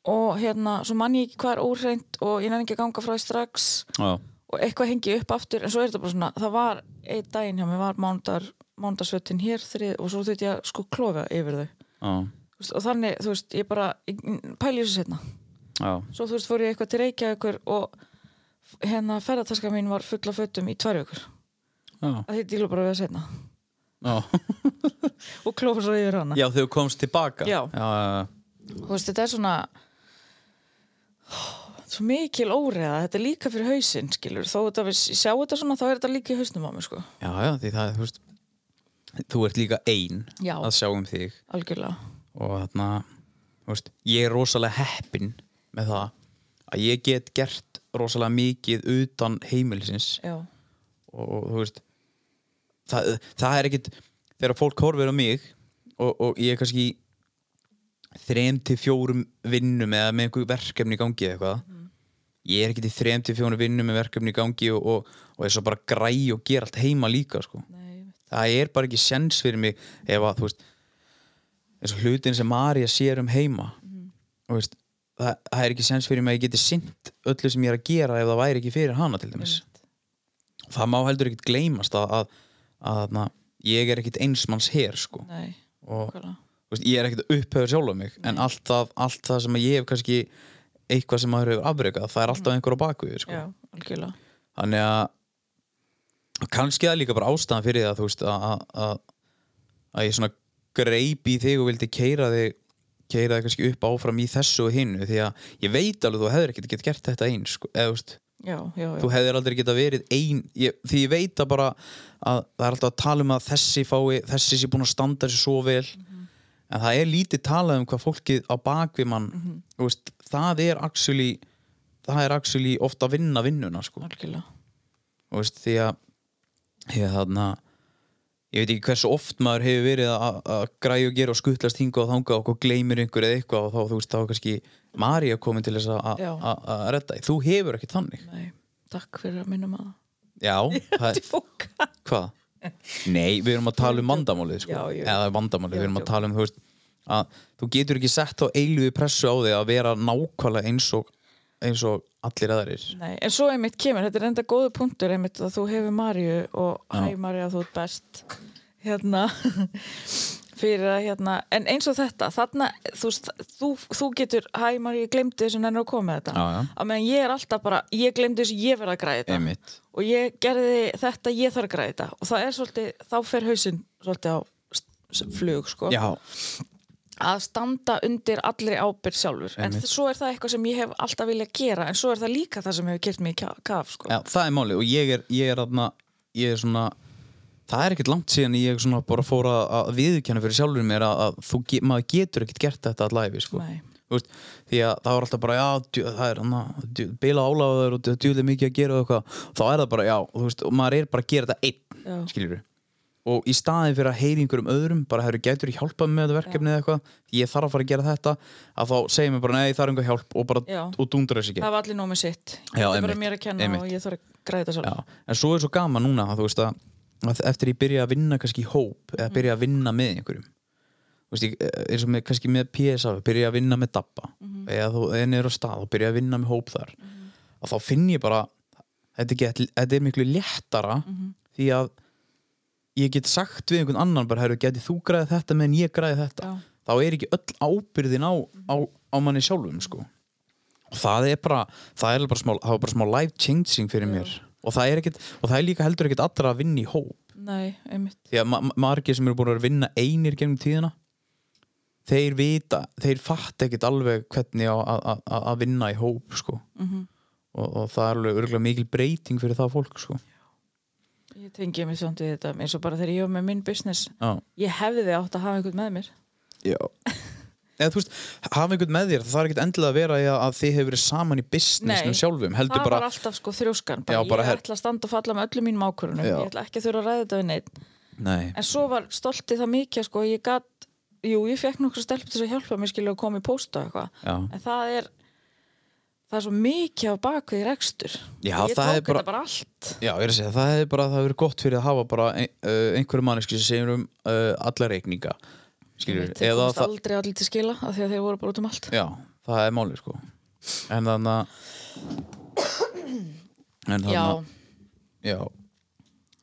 og hérna, svo mann ég ekki hvað er óhreint og ég nefn ekki að ganga frá því strax já. og eitthvað hengi upp aftur en svo er þetta bara svona, það var einn daginn hjá mér var mándar, mándarsvöttin hér þrið, og svo þurfti ég að sko klofa yfir þau já. Þú veist, og þannig, þú veist, ég bara ég- pæli þessu setna, já. svo þú veist, fór ég eitthvað til Reykjavíkur og hérna ferðartaska mín var fulla föttum í tvær vikur já. að þið dílu bara við að setna já. og klofa svo yfir hana já þegar þú komst tilbaka Já. Já, já, þú veist, þetta er svona svo mikil óreða þetta er líka fyrir hausinn, skilur þó þetta, við sjá þetta svona, þá er þetta líka í hausnum á mig, sko, já, já, því það er, þú veist þú ert líka ein Já. að sjá um þig algjörlega og þarna, þú veist ég er rosalega heppin með það að ég get gert rosalega mikið utan heimilisins já, og, og þú veist það, það er ekkit þegar fólk horfir á mig og, og ég er kannski í þrem til fjórum vinnum eða með einhver verkefni í gangi eða eitthvað ég er ekkit í þrem til fjórum vinnum með verkefni í gangi og, og, og er svo bara græ og gera allt heima líka sko. nei, það er bara ekki sens fyrir mig ef að þú veist eins og hlutin sem Marja sér um heima Mhm. þú veist það, það er ekki sens fyrir mig að ég geti sint öllu sem ég er að gera ef það væri ekki fyrir hana til dæmis einmitt. það má heldur ekkit gleymast að, að, að, þarna, ég er ekkit einsmanns hér sko. nei, og þú okkarlega veist, ég er ekkit upphefur sjálf um mig en allt það, allt það sem ég hef kannski eitthvað sem maður hefur afbrekað það er alltaf einhver á bakvið sko. Mhm. Já, algjörlega. þannig að kannski það er líka bara ástæðan fyrir það þú veist að, að- að, að ég svona greip í þig og vildi keira þig keira þig kannski upp áfram í þessu og hinnu því að ég veit alveg þú hefur ekkert gett gert þetta eins sko, eða þú veist já, já, já. þú hefðir aldrei geta verið ein ég, því ég veit að bara að það er alltaf að tala um að þessi fái þessi sé búin að standa sér svo vel en það er lítið talað um hvað fólkið á bakvið mann þú veist, það er actually það er actually ofta að vinna vinnuna sko. algjörlega Þú veist, því að ég, þarna, ég veit ekki hversu oft maður hefur verið að, að græja og gera og skuttlast hinga og þanga og hvað gleymir einhver eða eitthvað og þá, þú veist, þá er kannski María komin til þess að- að Já. að- að redda því. þú hefur ekki þannig Nei, takk fyrir að minna maður já, það er, fóka hvað? nei, við erum að tala um vandamálið sko. Já, já. eða vandamálið, Já, við erum að já. tala um þú veist, að þú getur ekki sett á eiluði pressu á þig að vera nákvæmlega eins og eins og allir aðrir Nei, en svo einmitt kemur, þetta er enda góðu punktur einmitt að þú hefur Marju og hæ Marja þú ert best hérna fyrir að hérna, en eins og þetta þarna, þú, veist, þú, þú getur hæ Marja, ég glemdi þessu en að koma með þetta Já, já. að meðan ég er alltaf bara, ég glemdi þessu ég verð að græða þetta Einmitt. og ég gerði þetta, ég þarf að græða þetta og það er svolítið, þá fer hausinn svolítið á s- s- flug sko já, að standa undir allri ábyrð sjálfur en Einmitt. þ- svo er það eitthvað sem ég hef alltaf viljað gera en svo er það líka það sem hefur gert mig í ka- kaf sko. Já, það er málið og ég er, ég er, aðna, ég er svona það er ekkert langt síðan ég svona bara fór að, að viðurkenna fyrir sjálfur mér að, að þú, ge- maður getur ekkert gert þetta allæfi sko. Nei. Þú veist, því að það var alltaf bara já, djú, það er hana, djú, bila áláður og djúlega mikið að gera og eitthvað þá er það bara já, þú veist, og maður er bara að gera þetta einn Já. skilur og í staðin fyrir að heyri einhverjum öðrum bara hefur gætur hjálpað mér með þetta verkefni eða eitthvað ég þarf að fara að gera þetta að þá segir mér bara nei, það er einhver hjálp og bara Já. og dundra þess ekki það var allir nómið sitt Já, þetta er bara einmitt, mér að kenna einmitt. og ég þarf að græða þetta Já, sjálfur en svo er svo gaman núna að þú veist að, að eftir ég byrja að vinna kannski í hóp eða byrja að vinna með einhverjum þú veist, ég eh, eins og með, kannski með PSA byrja að vinna með Dabba Mhm. Mm. eða þú enn er á stað og byrja að vinna með hóp þar og þá finn ég bara þetta, get, þetta er miklu léttara Mm. Mhm. því að ég get sagt við einhvern annan bara, herru, geti þú græði þetta meðan ég græði þetta Já. þá er ekki öll ábyrðin á, á, á manni sjálfum sko og það er bara, það er bara smá, það er bara smá life changing fyrir mér og það, er ekkit, og það er líka heldur ekkit allra að vinna í hóp Nei, einmitt því að ma ma- margir sem eru búin að vera að vinna einir gennum tíðina þeir vita, þeir fatt ekkit alveg hvernig á að- að- að að vinna í hóp sko Mhm. og, og það er alveg örgulega mikil breyting fyrir það fólk sko ég tengi mig samt við þetta eins og bara þegar ég var með minn business Já. ég hefði átt að hafa einhvern með mér Já Eða þú veist, hafa einhvern með þér, það er ekkert endilega að vera í að, að þið hefur verið saman í businessnum sjálfum, heldur það bara var alltaf sko þrjóskan bara, Já, bara ég her- ætla að standa og falla með öllum mínum ákvörunum Já. ég ætla ekki að þurfa að ræða þetta við neitt Nei, en svo var stoltið það mikið sko, ég gat, jú, ég fekk nokkru stelp til þess að hjálpa mér skilja að koma í pósta og eitthvað já, en það er það er svo mikið á bakvið rekstur Já, ég það er tók bara- þetta bara allt já, ég er að segja, það hefur bara, það hefur gott fyrir að hafa bara ein, uh, einhverju manneski sem segir um uh, alla reikninga skilur, þeir eða komast það, aldrei allir til skila af því að þeir voru bara út um allt já, það er málið sko en þannig að en þannig já, að, já,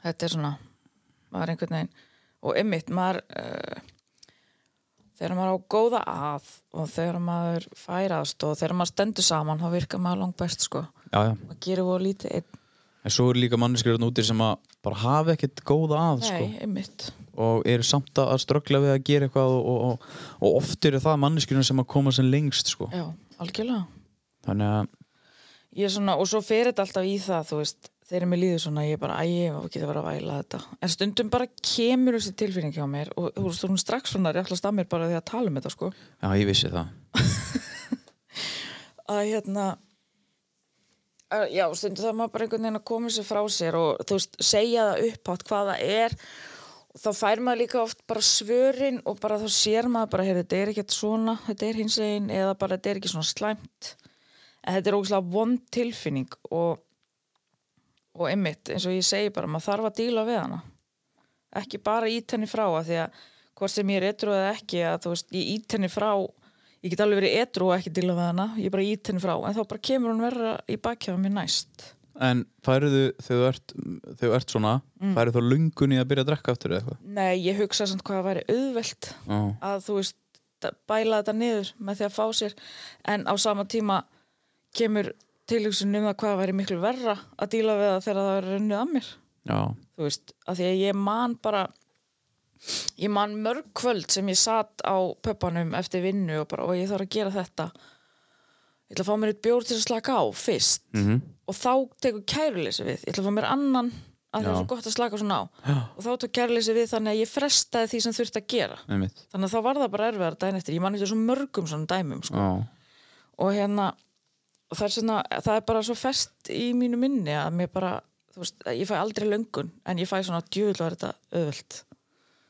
þetta er svona maður einhvern veginn og ymmit, maður uh, þegar maður á góða að og þegar maður færast og þegar maður stendur saman þá virkar maður langt best sko já, já maður gerir voru lítið einn, en svo eru líka manneskir þarna úti sem að bara hafa ekkert góða að sko nei, ymmit og eru samt að að ströggla við að gera eitthvað og, og, og, og oft eru það manneskjurinn sem að koma sem lengst sko. já, algjörlega þannig að Ég er svona, og svo fer þetta alltaf í það, þú veist, þegar mér líður svona, ég er bara, æ, ég var ekki að vera að væla þetta. En stundum bara kemur þessi tilfinning hjá mér og þú veist, þú erum strax svona réttlast að mér bara því að tala um þetta, sko. já, ég vissi það Að hérna, að, já, stundum það maður bara einhvern veginn að koma sér frá sér og þú veist, segja það upphátt hvað það er og þá fær maður líka oft bara svörin og bara þá sér maður bara, heyrðu, þetta er ekkert svona, þetta er hins einn eða bara þetta er ekki svona slæmt. En þetta er ógustlega vond tilfinning og og einmitt, eins og ég segi bara, maður þarf að díla við hana ekki bara ít henni frá að því að hvort sem ég er etru eða ekki að þú veist, ég ít henni frá ég get alveg verið etru og ekki díla við hana ég bara ít henni frá, en þá bara kemur hún verra í bakkjáðum mér næst en færiðu þegar þú ert, þegar þú ert svona mm. færiðu þá lungun í að byrja að drekka aftur eða eitthvað Nei, ég hugsa samt hvað það væri auðvelt Já. að þú veist, d- bæla þetta niður með því að fá sér, en á sama tíma kemur tilhugsun um það hvað það væri miklu verra að díla við það þegar það er runnið að mér já, þú veist, af því að ég man bara ég man mörg kvöld sem ég satt á pöppanum eftir vinnu og bara, og ég þarf að gera þetta ég ætla að fá mér eitt bjór til að slaka á fyrst Mhm. og þá tekur kæruleysi við ég ætla að fá mér annan að það er Já. svo gott að slaka svona á Já. og þá tók kæruleysi við þannig að ég frestaði því sem þurfti að gera einmitt þannig að þá var það bara erfiðar dæn eftir ég man eftir svo mörgum svona dæmum sko. Já, og hérna og það, er svona, það er bara svo fest í mínu minni að mér bara þú veist, að ég fæ aldrei löngun en ég fæ svona djúvill var þetta öðvöld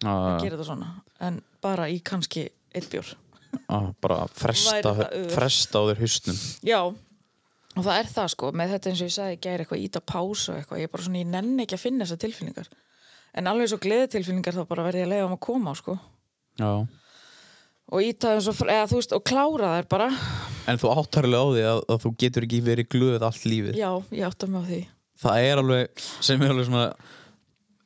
já, að já, gera þetta svona en bara í kannski eitt bjór já, bara fresta, Væri það auðvelt? fresta á þér hausnum Já, og það er það sko með þetta eins og ég sagði í gæri eitthvað íta pás og eitthvað, ég er bara svona, ég nenni ekki að finna þessar tilfinningar en alveg svo gleðitilfinningar þá bara verði ég að leiða um að koma á, sko Já, og íta þeim svo, fr- eða þú veist, og klára þær bara en þú áttarlega á því að, að þú getur ekki verið glöð allt lífið Já, ég átta mig á því það er alveg sem er alveg svona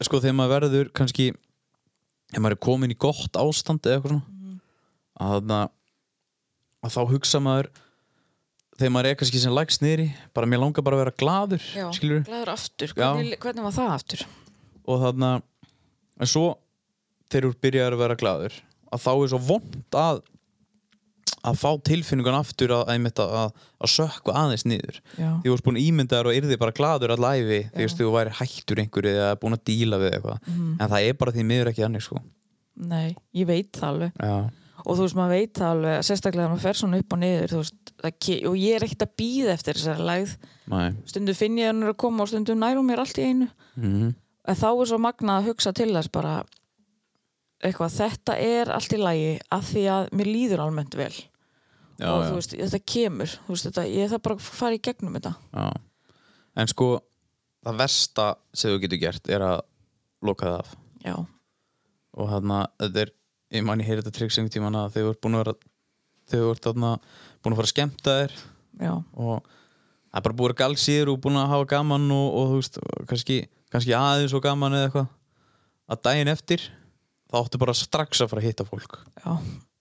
sko þegar maður verður kannski ef maður er komin í gott ástand eða eitthvað svona að, þarna, að þá hugsa maður þegar maður er kannski sem lægst niðri bara mér langar bara að vera gladur Já, skilur glæður aftur, Já. hvernig, hvernig var það aftur? og þarna en svo þegar þú byrjar að vera gladur að þá er svo vond að að fá tilfinningun aftur að, einmitt að, að, að sökku aðeins niður Já, því þú varst búin ímyndaður og yrði bara gladur all æfi því þú veist, þú væri hættur einhverju eða búin að díla við eitthvað Mhm. en það er bara því miður ekki annir sko nei, ég veit það alveg já, og þú veist, maður veit það alveg, sérstaklega þegar maður fer svona upp og niður, þú veist það ke- og ég er ekkert að býða eftir þessari lægð næ stundum finn ég að hún er að koma og stundum nærum mér allt í einu mm. en þá er svo magnað að hugsa til þess bara eitthvað, þetta er allt í lagi af því að mér líður almennt vel já, og já, þú veist, þetta kemur þú veist, þetta, ég þarf bara að fara í gegnum þetta já. en sko það versta sem þú getur gert er að loka það af já, og þarna, þetta er ég man ég heyri þetta trygg sem tíman að þegar þú ert búin að vera þegar þú ert þarna búin að fara að skemmta þér já, og það er bara búin að galsýður og búin að hafa gaman og, og þú veist, kannski, kannski aðeins og gaman eða eitthvað að daginn eftir þá áttu bara strax að fara að hitta fólk já,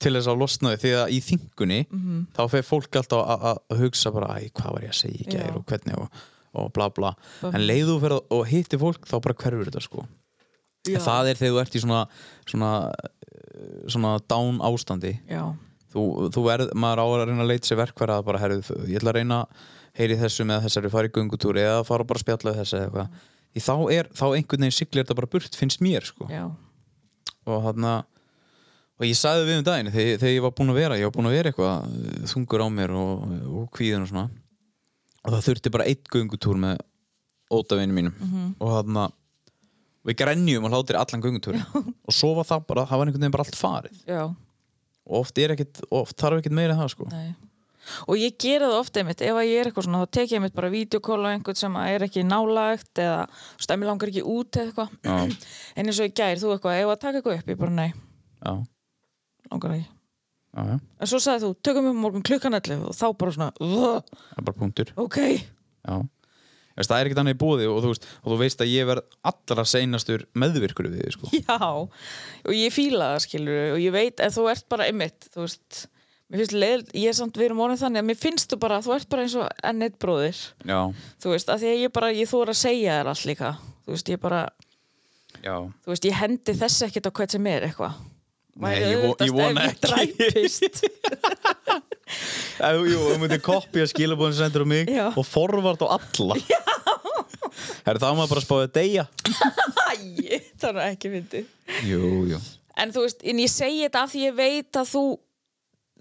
til þess að losna því því að í þingunni Mhm. þá fer fólk alltaf að- að- að hugsa bara æ, hvað var ég að segja í Já. gær og hvernig og, og bla bla, Bömm. en leiðu fyrir og hitti fólk þá bara hverfur þetta sko já, það er þegar þú ert í svona svona, eh, svona down ástandi já, þú, þú verð, maður á að reyna að leita sér verkfæra að bara, herru, ég ætla að reyna að heyri þessu með þessari, fara í göngutúr eða fara bara að spjalla við þessu eða eitthvað því þá er, þá einhvern veginn siglir þetta bara burt finnst mér, sko já, og hann og ég sagði við um daginn, þegar, þegar ég var búin að vera ég var búin að vera eitthvað eh, þungur á mér og, og kvíðin og svona og það þurfti bara eitt göngutúr með ótavinu mínum og hann og ég grenjum og hlátir allan göngutúr og svo var það bara, það var einhvern veginn bara allt farið já og oft, er ekkit, oft þarf ekkert meira en það sko Nei. Og ég gera það ofta einmitt, ef að ég er eitthvað svona, þá tek ég einmitt bara vídeokóla á einhvern sem að er ekki nálægt eða stemmi langar ekki út eða eitthvað. En eins og ég gær, þú eitthvað, ef að taka eitthvað upp, ég bara nei, já, langar ekki. já, já, En svo sagði þú, tökum við morgun klukkan 11 og þá bara svona, "Ugh, það er bara punktur ok, já. Þess, það er ekkert annað í búði og þú, veist, og þú veist að ég verð allra seinastur meðvirkur við þig sko. já. Og ég fíla það, skilur, og ég veit að þú ert bara einmitt, þú veist, mér finnst leil, ég er samt verið morgun þannig að mér finnst þú bara, þú ert bara eins og enn eitt bróðir. já, Þú veist, að því að ég bara, ég þóra að segja þér allt líka. Þú veist, ég bara, já þú veist, ég hendi þess ekkert á hvert sem er eitthvað Nei, Væri ég vo- ég auðveldast vona ef ég ekki. dræpist. Ef, jú, þú myndir kopja skilabóðin sendur á mig Já. og forvart á alla já. er það maður bara að spáði að deyja Æ, það er ekki fyndi jú, jú en þú veist, en ég segi þetta af því ég veit að þú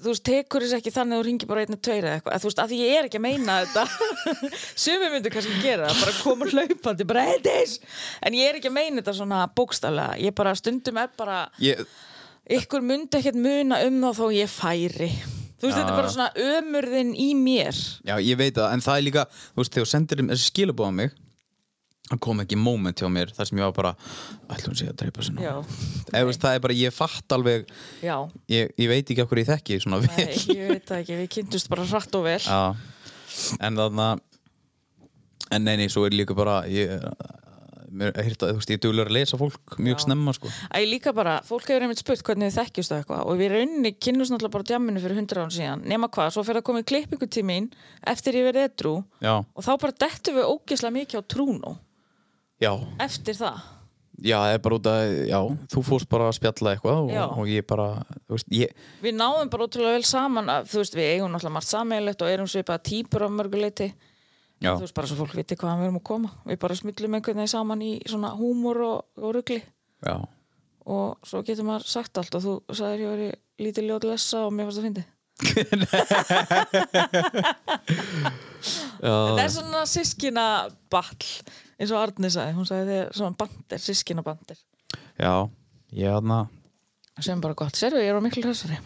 þú veist, tekur þess ekki þannig að þú ringir bara einna tveira eða eitthvað, að þú veist, af því ég er ekki að meina þetta sumi myndu kannski gera það, bara koma hlaupandi, bara heitis en ég er ekki að meina þetta svona bókstallega ég bara stundum er bara ég, ykkur myndi ekkert muna um það þó ég færi þú veist, Já, þetta er bara já. svona ömurðin í mér já, ég veit það, en það er líka þú veist, þegar þú sendir þessi skilabóð á mig það kom ekki moment hjá mér þar sem ég var bara, ætlum sé að dreipa sér nú já, Eða, þú veist, það er bara, ég fatt alveg já ég, ég veit ekki okkur ég þekki svona vel Nei, ég veit það ekki, við kynntumst bara hratt og vel Já, en þarna en neini, svo er líka bara ég mér er hýrt að, þú veist, ég er duglur að lesa fólk mjög Já. snemma, sko Æ, líka bara, fólk hefur einmitt spurt hvernig þið þekkjust og eitthvað og við rauninni kynnumst náttúrulega bara á djamminu fyrir hundra án síðan nema hvað, svo fyrir að koma í klippingu til mín eftir ég verið edrú Já, og þá bara dettum við ógislega mikið á trúnu já, eftir það Já, það er bara út að, já, þú fórst bara að spjalla eitthvað Já. og, og ég bara, þú veist, ég, Við náðum bara ótrúlega vel saman að, þú veist, við eigum náttúrulega margt sameiginlegt og erum svipaða típur af mörguleiti já, þú veist, bara svo fólk viti hvaðan við erum að koma við bara smullum einhvern veginn saman í svona húmor og, og rugli já, og svo getur maður sagt allt og þú sagðir ég veri lítið ljót lessa og mér fannst að fyndi já, þetta er svona sískina ball eins og Arni sagði, hún sagði þegar svona bandir, sískina bandir já, ég hann að, sem er bara gott, sérðu, ég er á miklu hressari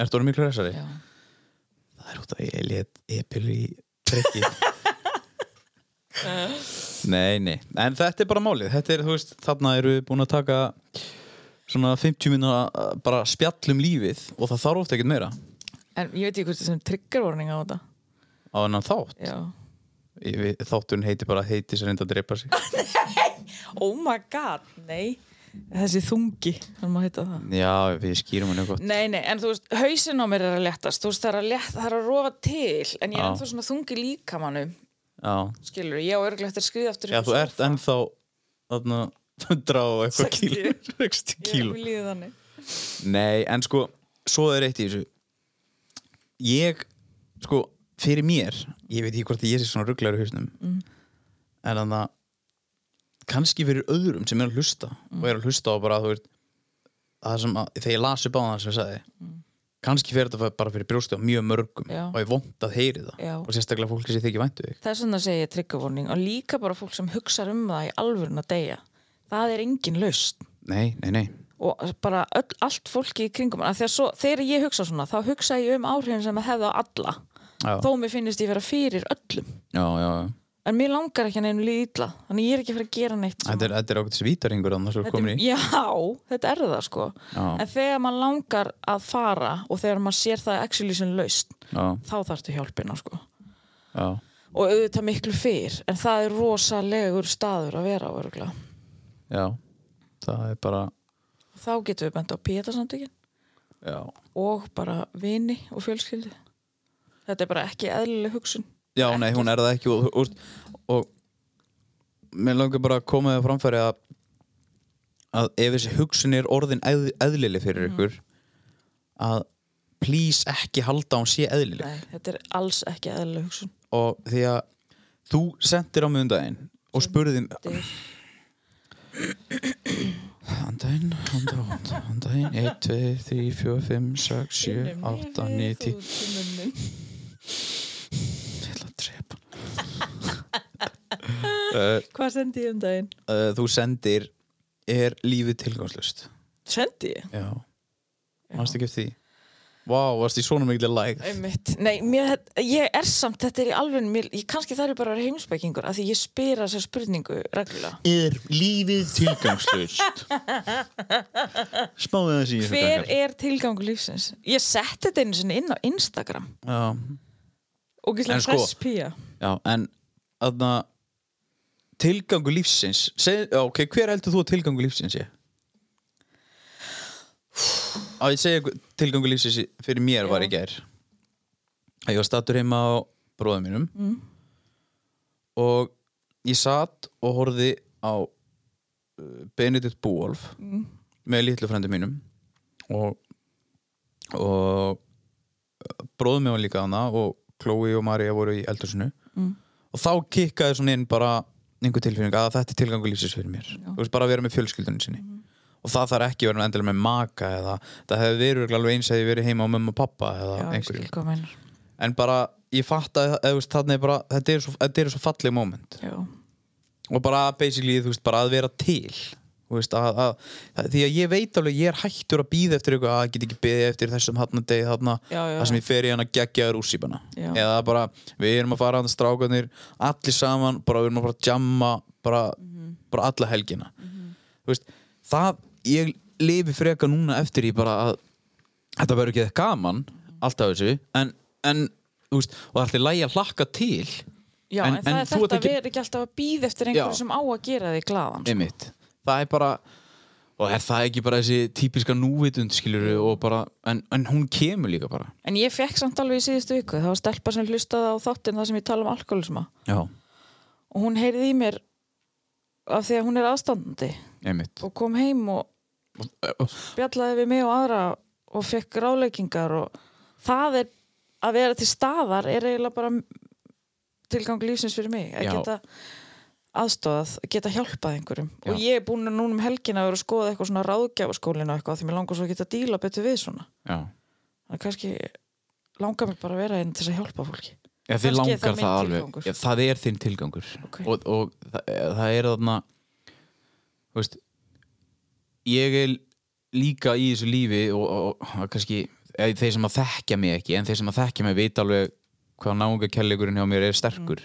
ertu orðin miklu resari? Já. Það er út að ég let epil í trekki Nei, nei, en þetta er bara málið Þetta er, þú veist, þarna eru við búin að taka svona 50 minna bara spjall um lífið og það þarf ofta ekkert meira en ég veit ekki hvort sem triggervarning á þetta á hennan þátt já. Ég við- Þátturinn heiti bara heiti sem reynda að dreipa sig oh my god, nei þessi þungi, hann má heita það Já, við skýrum henni gott Nei, nei, en þú veist, hausinn á mér er að léttast þú veist, það er að, létt, það er að rofa til en ég er Já. ennþá svona þungi líkamannum Já, skilur, ég á örglega eftir að skriða aftur Já upp þú í ert ennþá þarna drá eitthvað 60. kíló 60 sófa. kíló Ég mér líður þannig Nei, en sko, svo er eitt í þessu Ég, sko, fyrir mér Ég veit ekki hvort að ég sé svona rugglegur í hausnum mm. En þannig að kannski fyrir öðrum sem er að hlusta og er að hlusta á bara þú veist það sem að, þegar ég las upp á það sem ég sagði kannski fyrir þetta bara fyrir brjóstu á mjög mörgum Já. og ég vond að heyri það Já. og sérstaklega fólki sem þykir væntu þig Þess vegna segi ég triggervarning og líka bara fólk sem hugsar um það í alvörun að deyja það er engin laust Nei, nei, nei, og bara öll, allt fólki í kringum mann. Af því að svo, þegar ég hugsa svona, þá hugsa ég um áhrifin sem að hefða á alla Já. þó mér finnist ég vera fyrir öllum já, já, já en mér langar ekki að neinu líð illa þannig ég er ekki að fara að gera neitt sem Þetta er, þetta er ákveðtis vítaringur annars er Þetta komin er, í já, þetta er það sko Já. en þegar maður langar að fara og þegar maður sér það actually sem laust Já, þá þarftu hjálpina sko já, og auðvitað miklu fyrr en það er rosalegur staður að vera á örgla já Það er bara, þá getum við bent á pétarsamtökin já og bara vini og fjölskyldi þetta er bara ekki eðlileg hugsun Já, nei, hún er það ekki og, og, og, og mér langar bara að koma það framfæri að að ef þessi hugsun er orðin eð, eðlileg fyrir ykkur að please ekki halda að hún sé eðlileg Nei, þetta er alls ekki eðlileg hugsun og því að þú sendir á mig um daginn og spurði Þetta er- Andaginn, andaginn, andaginn 1, 2, 3, 4, 5, 6, 7, 8, 9, 10 Ég ætla að drepa uh, Hvað sendi ég um daginn? uh, Þú sendir Er lífið tilgangslust? Sendi ég? Já Manstu ekki eftir því? Vá, varst í svona mikilvæg læg Einmitt. Nei, mér, ég er samt, þetta er í alveg mér, ég, kannski þarf ég bara að vera heimsbækingur af því ég spyr þessa spurningu reglulega Er lífið tilgangslust? Spáðið þessi Hver er tilgangur lífsins? Ég setti þetta einu sinni inn á Instagram Já, og gíslega En sko- hress pía já en aðna, Tilgangu lífsins seg, já, Ok, hver heldur þú að tilgangu lífsins sé? Á, ég segja ykkur- tilgangu lífsins í- fyrir mér var í gær að ég var stattur heima á bróðum mínum mm. og ég satt og horfði á uh, Benedikt Búolf með litlu frændi mínum og og bróðum minn var líka hana og Chloe og Maria voru í eldursinu mm. og þá kikkaði svona inn bara einhver tilfinning að þetta er tilgangu lífsins fyrir mér þú veist bara að vera með fjölskyldunum sinni Mhm. og það þarf ekki að vera endilega með maka eða það hefði verið örugglega alveg eins að ég verið heima á mömmu og pappa eða Já, ég einhverju skil hvað meinar en bara ég fatt að þarna er bara þetta er svo, þetta er svo falleg moment Já, og bara basically þú veist bara að vera til Þú veist, að, að, að, því að ég veit alveg ég er hættur að býða eftir eitthvað að ég get ekki býða eftir þessum hann að degi þarna Já, já, þar sem ég fer í hann að gegja rússýpana Já. eða bara við erum að fara hann strákanir allir saman, bara við erum að fara að jamma bara, Mhm. bara alla helgina þú veist, það ég lifi freka núna eftir ég bara að þetta verður ekki gaman alltaf þessu, en, en þú veist, og það er alltaf lægi að hlakka til Já en, það er þú ert þetta að vera ekki alltaf að býða eftir einhverju Já. sem á að gera þig glaðan sko. Einmitt. Það er bara og er það ekki bara þessi típiska núvitund skilur og bara, en, en hún kemur líka bara En ég fekk samt alveg í síðustu viku það var stelpa sem hlustaði á þáttinn það sem ég tala um alkoholisma Já, og hún heyrði í mér af því að hún er aðstandandi einmitt og kom heim og bjallaði við mig og aðra og fekk ráleikingar og það er að vera til staðar er eiginlega bara tilgang lífsins fyrir mig að Já. geta aðstóðað, að geta hjálpað einhverjum Já. og ég er búin að núna um helgina að vera að skoða eitthvað svona ráðgjafaskólinu og eitthvað því mér langar svo að geta að díla betur við svona Já, þannig að kannski langar mér bara að vera einn til þess að hjálpa fólki Já þið Kannski er það langar minn það alveg tilgangur. Já, Það er þinn tilgangur Ok. og, og það, það er þarna þú veist ég er líka í þessu lífi og, og, og kannski eða þeir sem að þekkja mig ekki en þeir sem að þekkja mig veit alveg hvað náunga kærleikurinn hjá mér er sterkur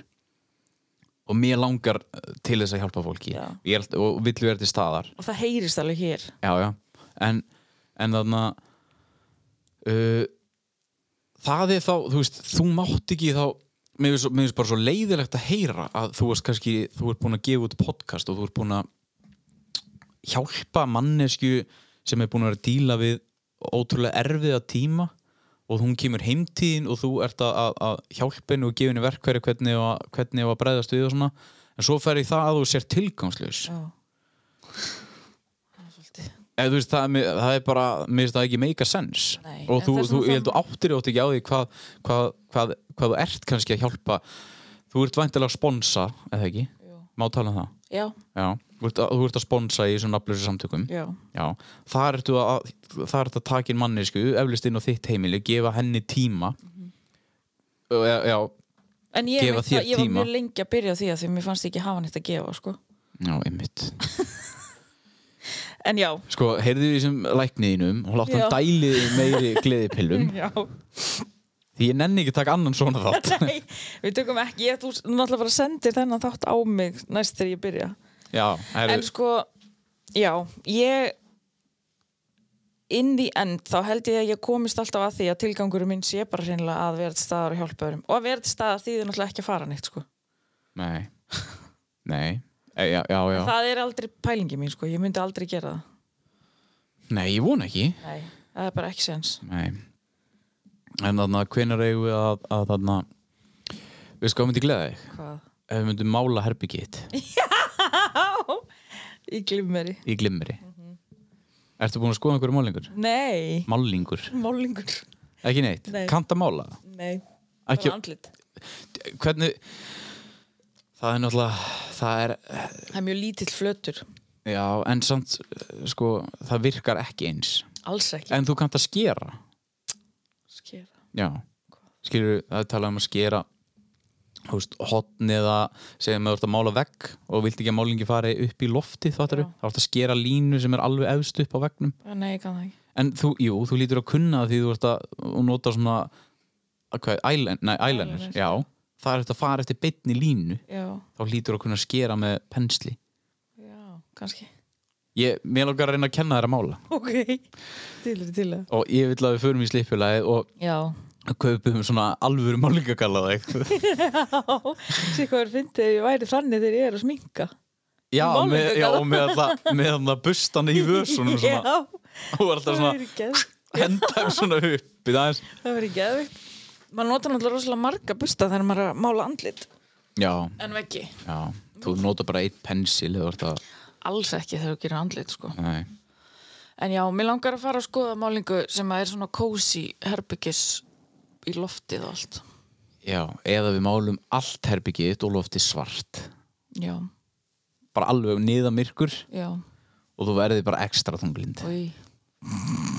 Mm. og mér langar eh, til þess að hjálpa fólki Já. Ég er, allt- og vill vera til staðar og það heyrist alveg hér já, já. En, en þarna uh, það er þá þú veist, þú mátt ekki þá mér finnst svo- mér finnst bara svo leiðilegt að heyra að þú varst kannski, þú ert búin að gefa út podcast og þú ert búin að hjálpa mannesku sem er búin að vera að díla við ótrúlega erfiða tíma og hún kemur heimtíðin og þú ert að, að, að hjálpa henni og gefa henni verkfæri hvernig á að- hvernig á að bregðast við og svona en svo fer í það að þú sér tilgangslaus Já. Það er svolítið- eða þú veist, það, er mér- það er bara mér finnst það ekki make a sense Nei, og en þú, þess þú, vegna ég held þú áttir átt ekki á því hvað, hvað, hvað, hvað þú ert kannski að hjálpa þú ert væntilega að sponsa eða ekki, Jú. má tala um það Já, já, þú ert, að- þú ert að sponsa í svona nafnlösu samtökum já, já, þar ertu að þar ertu að taka inn mannesku, eflist inn á þitt heimili gefa henni tíma Mhm. og, já, já, en ég, Gefa veit þér það- ég var tíma. mjög lengi að byrja á því að því mér fannst ég ekki hafa neitt að gefa sko. já, einmitt en já, sko, heyrðu því sem lækniðinum og látt hann Já. dælið meiri gleðipillum já því ég nenni ekki að taka annan svona þátt Nei, við tökum ekki, ég, þú náttúrulega bara sendir þennan þátt á mig næst þegar ég byrja já, heyrðu, en sko, já ég in the end, þá held ég að ég komist alltaf að því að tilgangurum minn sé bara hreinlega að vera til staðar og hjálpa öðrum og að vera til staðar því þið náttúrulega ekki að fara neitt sko. Nei Nei, e, já, já, já. það er aldrei pælingi mín, sko. ég myndi aldrei gera það Nei, ég vona ekki Nei, það er bara ekki sens Nei En þarna, hvenær eigum við að, að þarna Við sko, ég myndi gleða þig Hvað? Ef við myndum mála herbyggitt Í glimmeri í glimmeri Mhm. Ertu búin að skoða einhverju málingur? Nei Málingur, Málingur ekki neitt Nei. Kannt að mála Nei ekki, Bara andlit Hvernig Það er náttúrulega Það er, Það er mjög lítill flötur já, en samt Sko, það virkar ekki eins Alls ekki En þú kannt að skera Skera Já, skilur það er talað um að skera húst, hotn eða segjum að þú ert að mála vegg og vilt ekki að málingi fari upp í lofti þá ertu Já. að skera línu sem er alveg efst upp á veggnum Nei, ég kann það ekki en þú, jú, þú lítur að kunna það því þú ert að og nota svona að hvað, eyeliner, nei, eyeliner, Eyeliner. já það er eftir að fara eftir beinni línu Já þá lítur að kunna að skera með pensli Já, kannski ég, mér lókar að reyna að kenna þér að mála Ok Dýlir til það og ég vil að við förum í slippulæði og Já kaupum svona alvöru málingakalla eða eitthvað Sér hvað er fyndið ef ég væri þannig þegar ég er að sminka Já, með, Málningagalla. já og með það, með það bustana í vösunum svona, Já og var alltaf Það svona verður geð henda þeim svona upp í dagins Það verður geðvikt Maður notar náttúrulega rosalega marga busta þegar maður er að mála andlit Já, En veggi já, þú nota bara eitt pensil eða var það, Alls ekki þegar þú gerir andlit sko nei En já, mér langar að fara að skoða málingu sem að er svona cozy herbyggis í loftið og allt. Já, eða við málum allt herbyggið þitt og lofti svart Já, bara alveg niða myrkur já, og þú verði bara ekstra þunglind og í.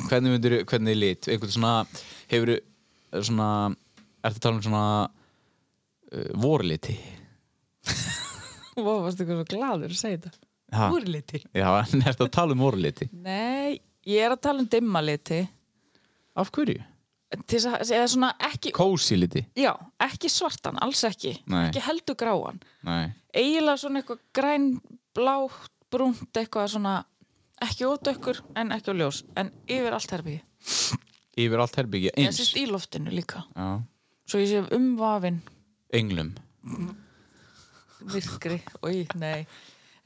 Hvernig myndir, hvernig lit, einhvern svona hefur svona ertu að tala um svona uh, vorliti Vá, varstu eitthvað svo gladur að segja þetta? ha, Úrliti. Já, en ertu að tala um vorliti Nei, ég er að tala um dimmaliti. Af hverju? Til þess að, eða svona ekki, Kósi liti já, ekki svartan, alls ekki. Nei. Ekki heldur gráan. Nei Eiginlega svona eitthvað græn, blátt, brúnt, eitthvað svona, ekki ódökkur en ekki á ljós. En yfir allt herbyggi. yfir allt herbyggja En eins sérst í loftinu líka. Já. Svo ég sé um umvafinn englum myrkri, oi, nei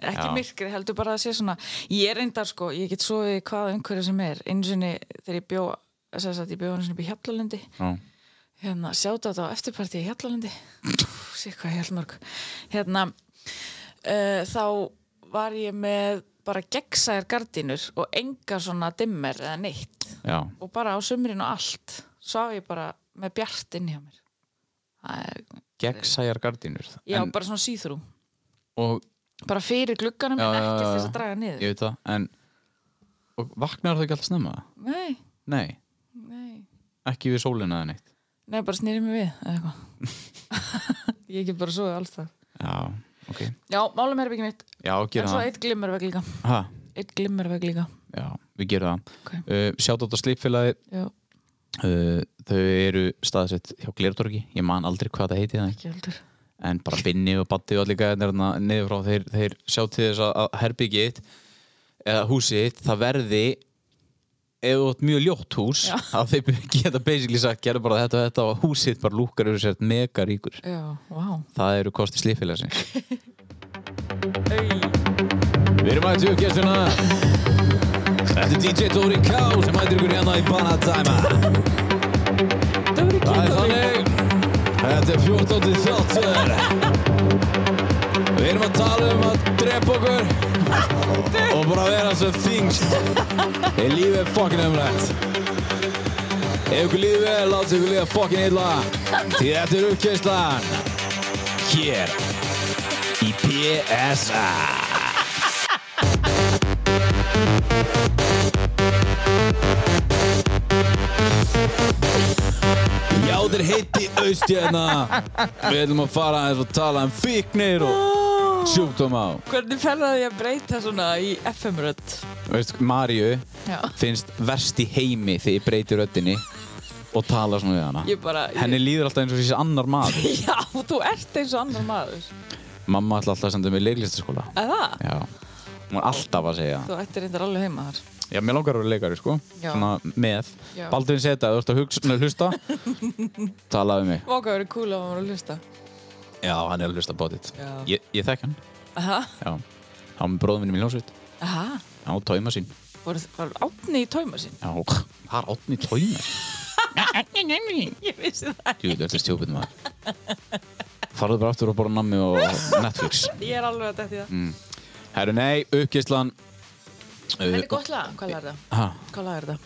ekki Já. myrkri, heldur bara að sé svona ég er reyndar sko, ég get svoðið hvað einhverju sem er, einu sinni þegar ég bjó þess að ég bjó einu sinni upp í Hjallalundi Já. hérna, sjáta þetta á eftirparti í Hjallalundi sé hvað ég held mörg hérna, uh, þá var ég með bara gegnsæjar gardínur og enga svona dimmer eða neitt já, og bara á sumrin og allt sá ég bara með bjart inn hjá mér Það er, gegnsæjar gardínur já, en, bara svona síþrú og bara fyrir glugganum Já, en já, ekki já, til þess já. að draga niður ég veit það, en og vaknar það ekki alltaf snemma? nei, Nei, nei, ekki við sólina eða neitt nei, bara snýri mig við eða eitthvað ég get bara svoðið alls þar Já, ok, já, málum er ekki mitt já, en gera svo það eitt glimmur veg líka ha, eitt glimmur veg líka Já, við gera það Ok. uh, Sjátt átt á slipfélagi já, uh, Þau eru staðsett hjá Glertorgi Ég man aldrei hvað það heiti hérna. það ekki heldur en bara Binni og Batti og allir gæðin er niður frá þeir, þeir sjá til þess að- að herbyggið þitt eða húsið þitt, það verði ef þú átt mjög ljótt hús Já. að þeir geta basically sagt gerðu bara þetta og þetta og húsið þitt bara lúkar yfir sér mega ríkur, já, vá það eru kosti slífilegsi hey. Við erum aðeins upp gæstuna Þetta er DJ Tóri K sem mætir ykkur hérna í Banatæma Dóri Það er Kýtari þannig Þetta er 14. þáttur Við erum að tala um að drepa okkur og bara vera sem þingst Í lífið er fokkin umrætt Ef ykkur lífið vel, láta ykkur lífið fokkin illa Því þetta er uppkjöðslan Hér í PSA Já, þetta er heitt í austjæðna Við ætlum að fara aðeins og tala um fíknir og sjúkdóma á Hvernig ferðaði ég að breyta svona í FM-rödd? Veist, Maríu Já. finnst verst í heimi þegar ég breyti röddinni og tala svona við hana Ég bara... ég- henni líður alltaf eins og þessi annar maður Já, þú ert eins og annar maður. mamma ætla alltaf að senda mig í leiklistaskóla Eða það? já, hún er alltaf að segja það. Þú ættir reyndar alveg heima þar. já, mér langar að vera leikari sko Já. með, Já. Baldurinn seta, þú ert að hugsa, nei, hlusta tala við mig, Váka verið cool að maður að hlusta. já, hann er að hlusta bótið Já. ég, ég þekk hann, Aha. já hann er bróðum minni í hljónsveit, Aha. hann á tóima sín Var, var átni í tóma sín? já, það er átni tóima Ég vissi það. Jú, þetta er stjópið maður Farðu bara aftur og borða nammi og Netflix Ég er alveg að detti það. Mm. Herru, nei, uppgíslan Þetta uh, er gott lag. Hvað lag er það? ha, Hvað lag er það?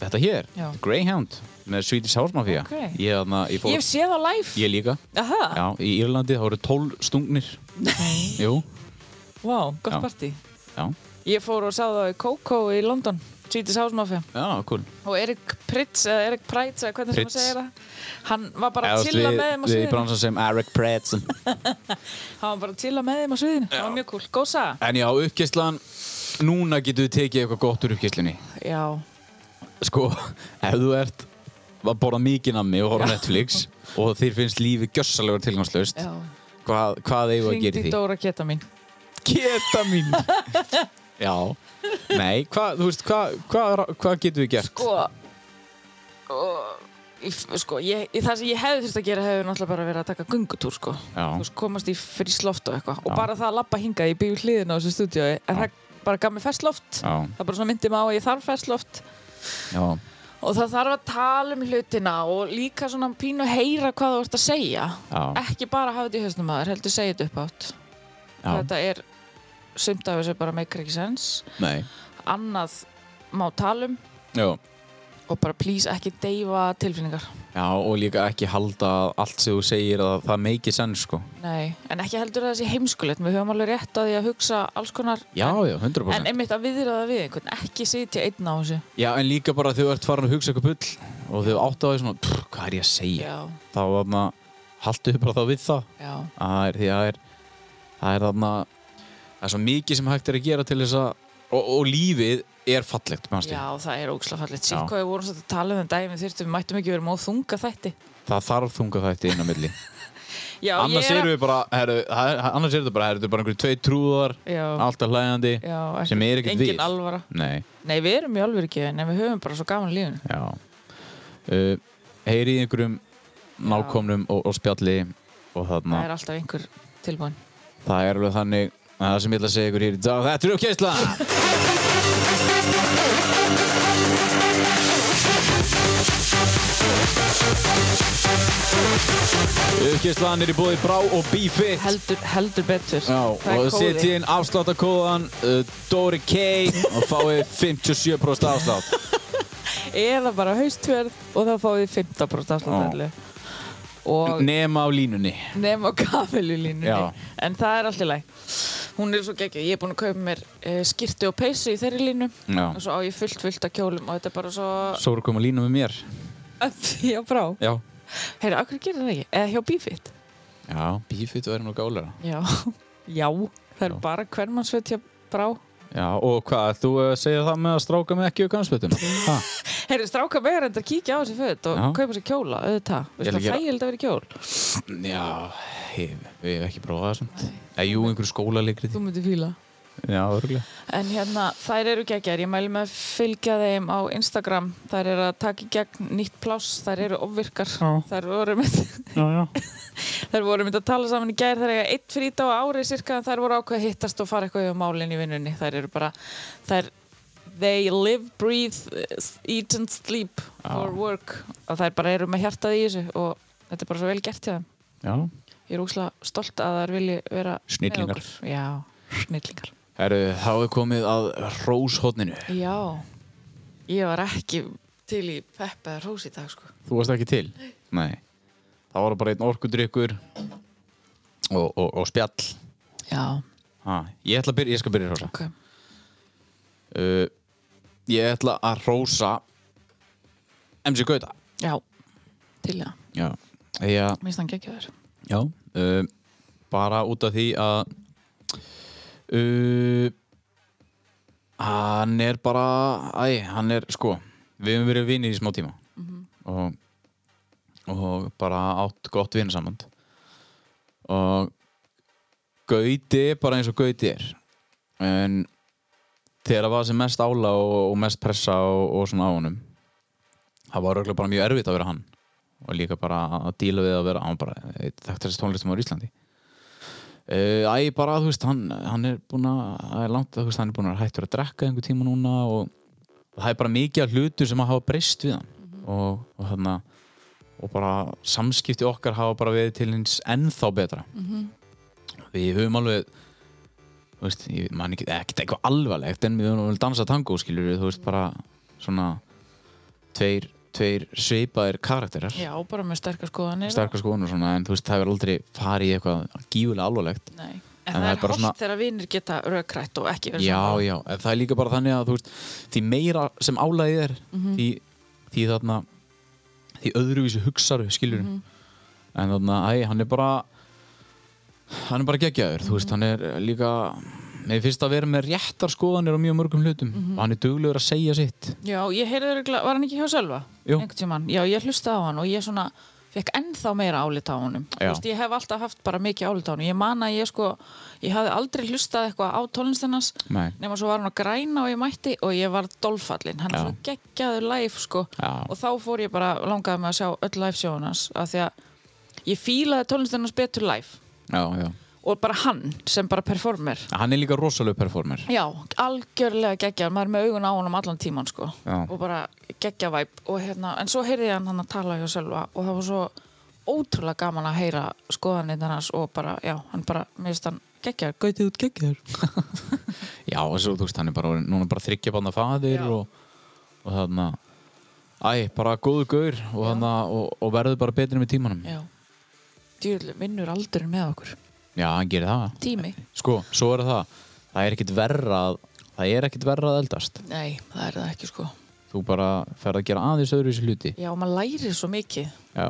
Þetta hér, Já. Greyhound með Swedish House Mafia Ok. ég, þarna, ég, fór, Ég hef séð á live. ég líka Aha. Já, í Írlandi þá eru tól stungnir Nei. Jú, Vá, gott Já. partí. já, Ég fór og sá það í Coco í London. Svítis Hásmafja. já, cool og Erik Pritz eða Erik Præts eða hvernig sem Pritz. maður segir það hann var bara Eða, að þú veist, chilla við- með þeim á Við sviðinu bransan sem Eric Pratzen hann var bara að chilla með þeim á sviðinu það var mjög cool, góð saga En já, uppgíslan Núna getur við tekið eitthvað gott úr uppgíslunni já, sko, ef þú ert að borða mikið nammi og horfa á Netflix og þér finnst lífi gjössalega tilgangslöst já hvað, hvað eigum við að gera hringdi í í því? Dóra Keta mín Keta mín! Já, nei, hvað, þú veist, hvað, hvað, hvað getum við gert? sko og, ég, sko, ég, ég, það sem ég hefði þurft að gera hefur náttúrulega bara verið að taka gungutúr sko Já. Þú veist, komast í frísloft og eitthvað og Já. bara það að labba hingað, ég byggjum hliðina á þessu stúdíói en það bara gaf mér festloft Já. það bara svona myndi mig á að ég þarf festloft Já, Og það þarf að tala um hlutina og líka svona pínu heyra hvað þú ert að segja. Já. Ekki bara hafa þetta í höstum aður, heldur segja þetta upp átt. já, Þetta er, sumt af þessu bara make ekki sense. nei, Annað má tala um já, og bara please ekki deyfa tilfinningar. já, og líka ekki halda að allt sem þú segir að það meikið senn, sko. Nei, en ekki heldur að það sé heimskulegt. Við höfum alveg rétt á því að hugsa alls konar. Já, já, 100%. En einmitt að viðra það við einhvern, ekki sitja einn á þessu. já, en líka bara þegar þú ert farin að hugsa eitthvað bull og þegar þú átt á því svona, pff, hvað er ég að segja? Já, Þá, þarna, haltu bara þá við það. já, að það er því að það er það er þarna það er svo mikið sem hægt er að gera til þess að og, og lífið er fallegt mér fannst já, ég. það er ógislega fallegt. Já. Sýn hvað við vorum svolítið að tala um þetta dæmi þyrftum, við mættum ekki verið móð þunga þætti. það þarf þunga þætti inn á milli Já, ég annars er að- eru við bara heru, er, annars eru þetta bara, heru, þetta er bara einhverju tvei trúðar Já. alltaf hlægandi Já, ekki, sem er ekkert engin við alvara nei, Nei, við erum í alvöru gefin en við höfum bara svo gaman í lífinu já uh, heyrið í einhverjum nákomnum og, og spjalli og þarna Það er alltaf einhver tilbúin Það er alveg þannig að það sem ég ætla að segja ykkur hér í dag Þetta er uppkjæsla Uppgjörslan er í bóði Brá og BeFit heldur, heldur betur Já, það og er setjið kóði inn afsláttakóðan uh, Dóri K og fáið 57% afslátt eða bara haustverð og þá fáið þið 15% afslátt og nema á línunni nema kamilulínunni Já. en það er alltaf læg hún er svo geggjöð, ég er búin að kaupa mér uh, skirti og peysu í þeirri línu Já. og svo á ég fullt fullt af kjólum og þetta er bara svo Svo er komið lína með mér já, brá, Já, heyrðu, akkur gerir það ekki eða hjá Bífitt já BeFit verður nú gálara já, já, það er bara hvermannsveit hjá brá Já, og hvað, þú uh, segir það með að stráka með ekki og kannslutum Ég heyrðu, stráka megar endur að kíkja á þessi föt og Já. kaupa sér kjóla, auðvitað Ég veist það vil gera- þægild að vera í kjól, Já, ég ég hef ekki prófað það samt Eða jú, einhverju skólaleikrið þú myndir fíla Já, örgulega En hérna, þær eru geggjar, ég mæli með að fylgja þeim á Instagram, þær eru að taka í gegn nýtt pláss, þær eru ofvirkar, þær voru með, Já, já þær voru mynd að tala saman í gær, þær eiga eitt frít á ári cirka, en þær voru ákveð að hittast og fara eitthvað yfir málinn í vinnunni, þær eru bara, þær, they live, breathe, eat and sleep for work og þær bara eru með hjartað í þessu og þetta er bara svo vel gert hjá þeim. Já, Ég er úkslega stolt að þær vilji vera með Snillingar. okkur. Já, snillingar. Herru, þá er komið að róshotninu. Já, ég var ekki til í Peppa eða Rós í dag sko. Þú varst ekki til? Nei. Það var bara einn orkudrykkur og, og, og spjall. Já, Ha, ég ætla að byrja, ég skal byrja að rósa. ok. Uh, ég ætla að rósa MC Gauta. Já, til það. Já. Ég, Mér finnst hann geggjaður. já. Uh, bara út af því að uh, hann er bara, æ, hann er sko, við hefum verið vinir í smá tíma. og, og bara átt gott vinnsamand og Gauti er bara eins og Gauti er en þegar það var sem mest ála og, og mest pressa og, og svona á honum það var auðvitað bara mjög erfitt að vera hann og líka bara að díla við að vera hann var bara eitt þekktast tónlistum á Íslandi Uh, æ, bara, þú veist, hann, hann er búin að, það er langt, þú veist, hann er búin að hættur að drekka einhver tíma núna og það er bara mikið af hlutu sem að hafa breyst við hann og, og þarna og bara samskipti okkar hafa bara verið til hins ennþá betra við höfum alveg þú veist, ég man ekki, ekkert eitthvað alvarlegt en við höfum alveg dansað tango skilur við, þú veist, bara svona tveir, tveir sveipaðir karakterar Já, bara með sterkar skoðanir. sterkar skoðun og svona, en þú veist, það er aldrei farið í eitthvað gífulega alvarlegt Nei. En, það er bara hótt svona- þegar vinir geta rökrætt og ekki verið Já, já, en það er líka bara þannig að þú veist, því meira sem álægið er því, því þarna því öðruvísi hugsaru, skilur en þarna, æ, hann er bara hann er bara geggjaður þú veist, hann er líka mér finnst að vera með réttar skoðanir á mjög mörgum hlutum og hann er duglegur að segja sitt Já, ég heyrði örgulega, var hann ekki hjá Sölva? Jú. Einhvern tímann. Já, ég hlustaði á hann og ég svona fekk ennþá meira álit á honum. Þú Já. Veist, ég hef alltaf haft bara mikið álit á honum. Ég man að ég sko, ég hafði aldrei hlustað eitthvað á tónlistinnas Nei. nema svo var hann að græna og ég mætti og ég var dolfallin. Hann Já. er svo geggjaður live sko Já. og þá fór ég bara langaði mig að sjá öll live sjóðun hans af því að ég fílaði tónlistinnas betur live Já, já, og bara hann sem bara performer. hann er líka rosalega performer Já, algjörlega geggjaður, maður er með augun á honum allan tíman sko Já. og bara geggjavæp og hérna, en svo heyrði ég hann hann að tala hjá Sölva og það var svo ótrúlega gaman að heyra skoðaninn hans og bara, já, hann bara, mér finnst hann geggjaður, gautið út geggjaður Já, og svo, þú veist, hann er bara orðinn- núna bara þryggja banna faðir Já. og, og þarna Æ, bara góðu gaur og, þarna, og, og verður bara betri með tímanum Já, djúrlega, vinnur aldurinn með okkur Já, hann gerir það. Tími? Sko, svo er það. Það er ekkit verra að, það er ekkit verra að eldast. Nei, það er það ekki sko Þú bara ferð að gera aðeins öðru í þessu hluti. Já, maður lærir svo mikið, Já.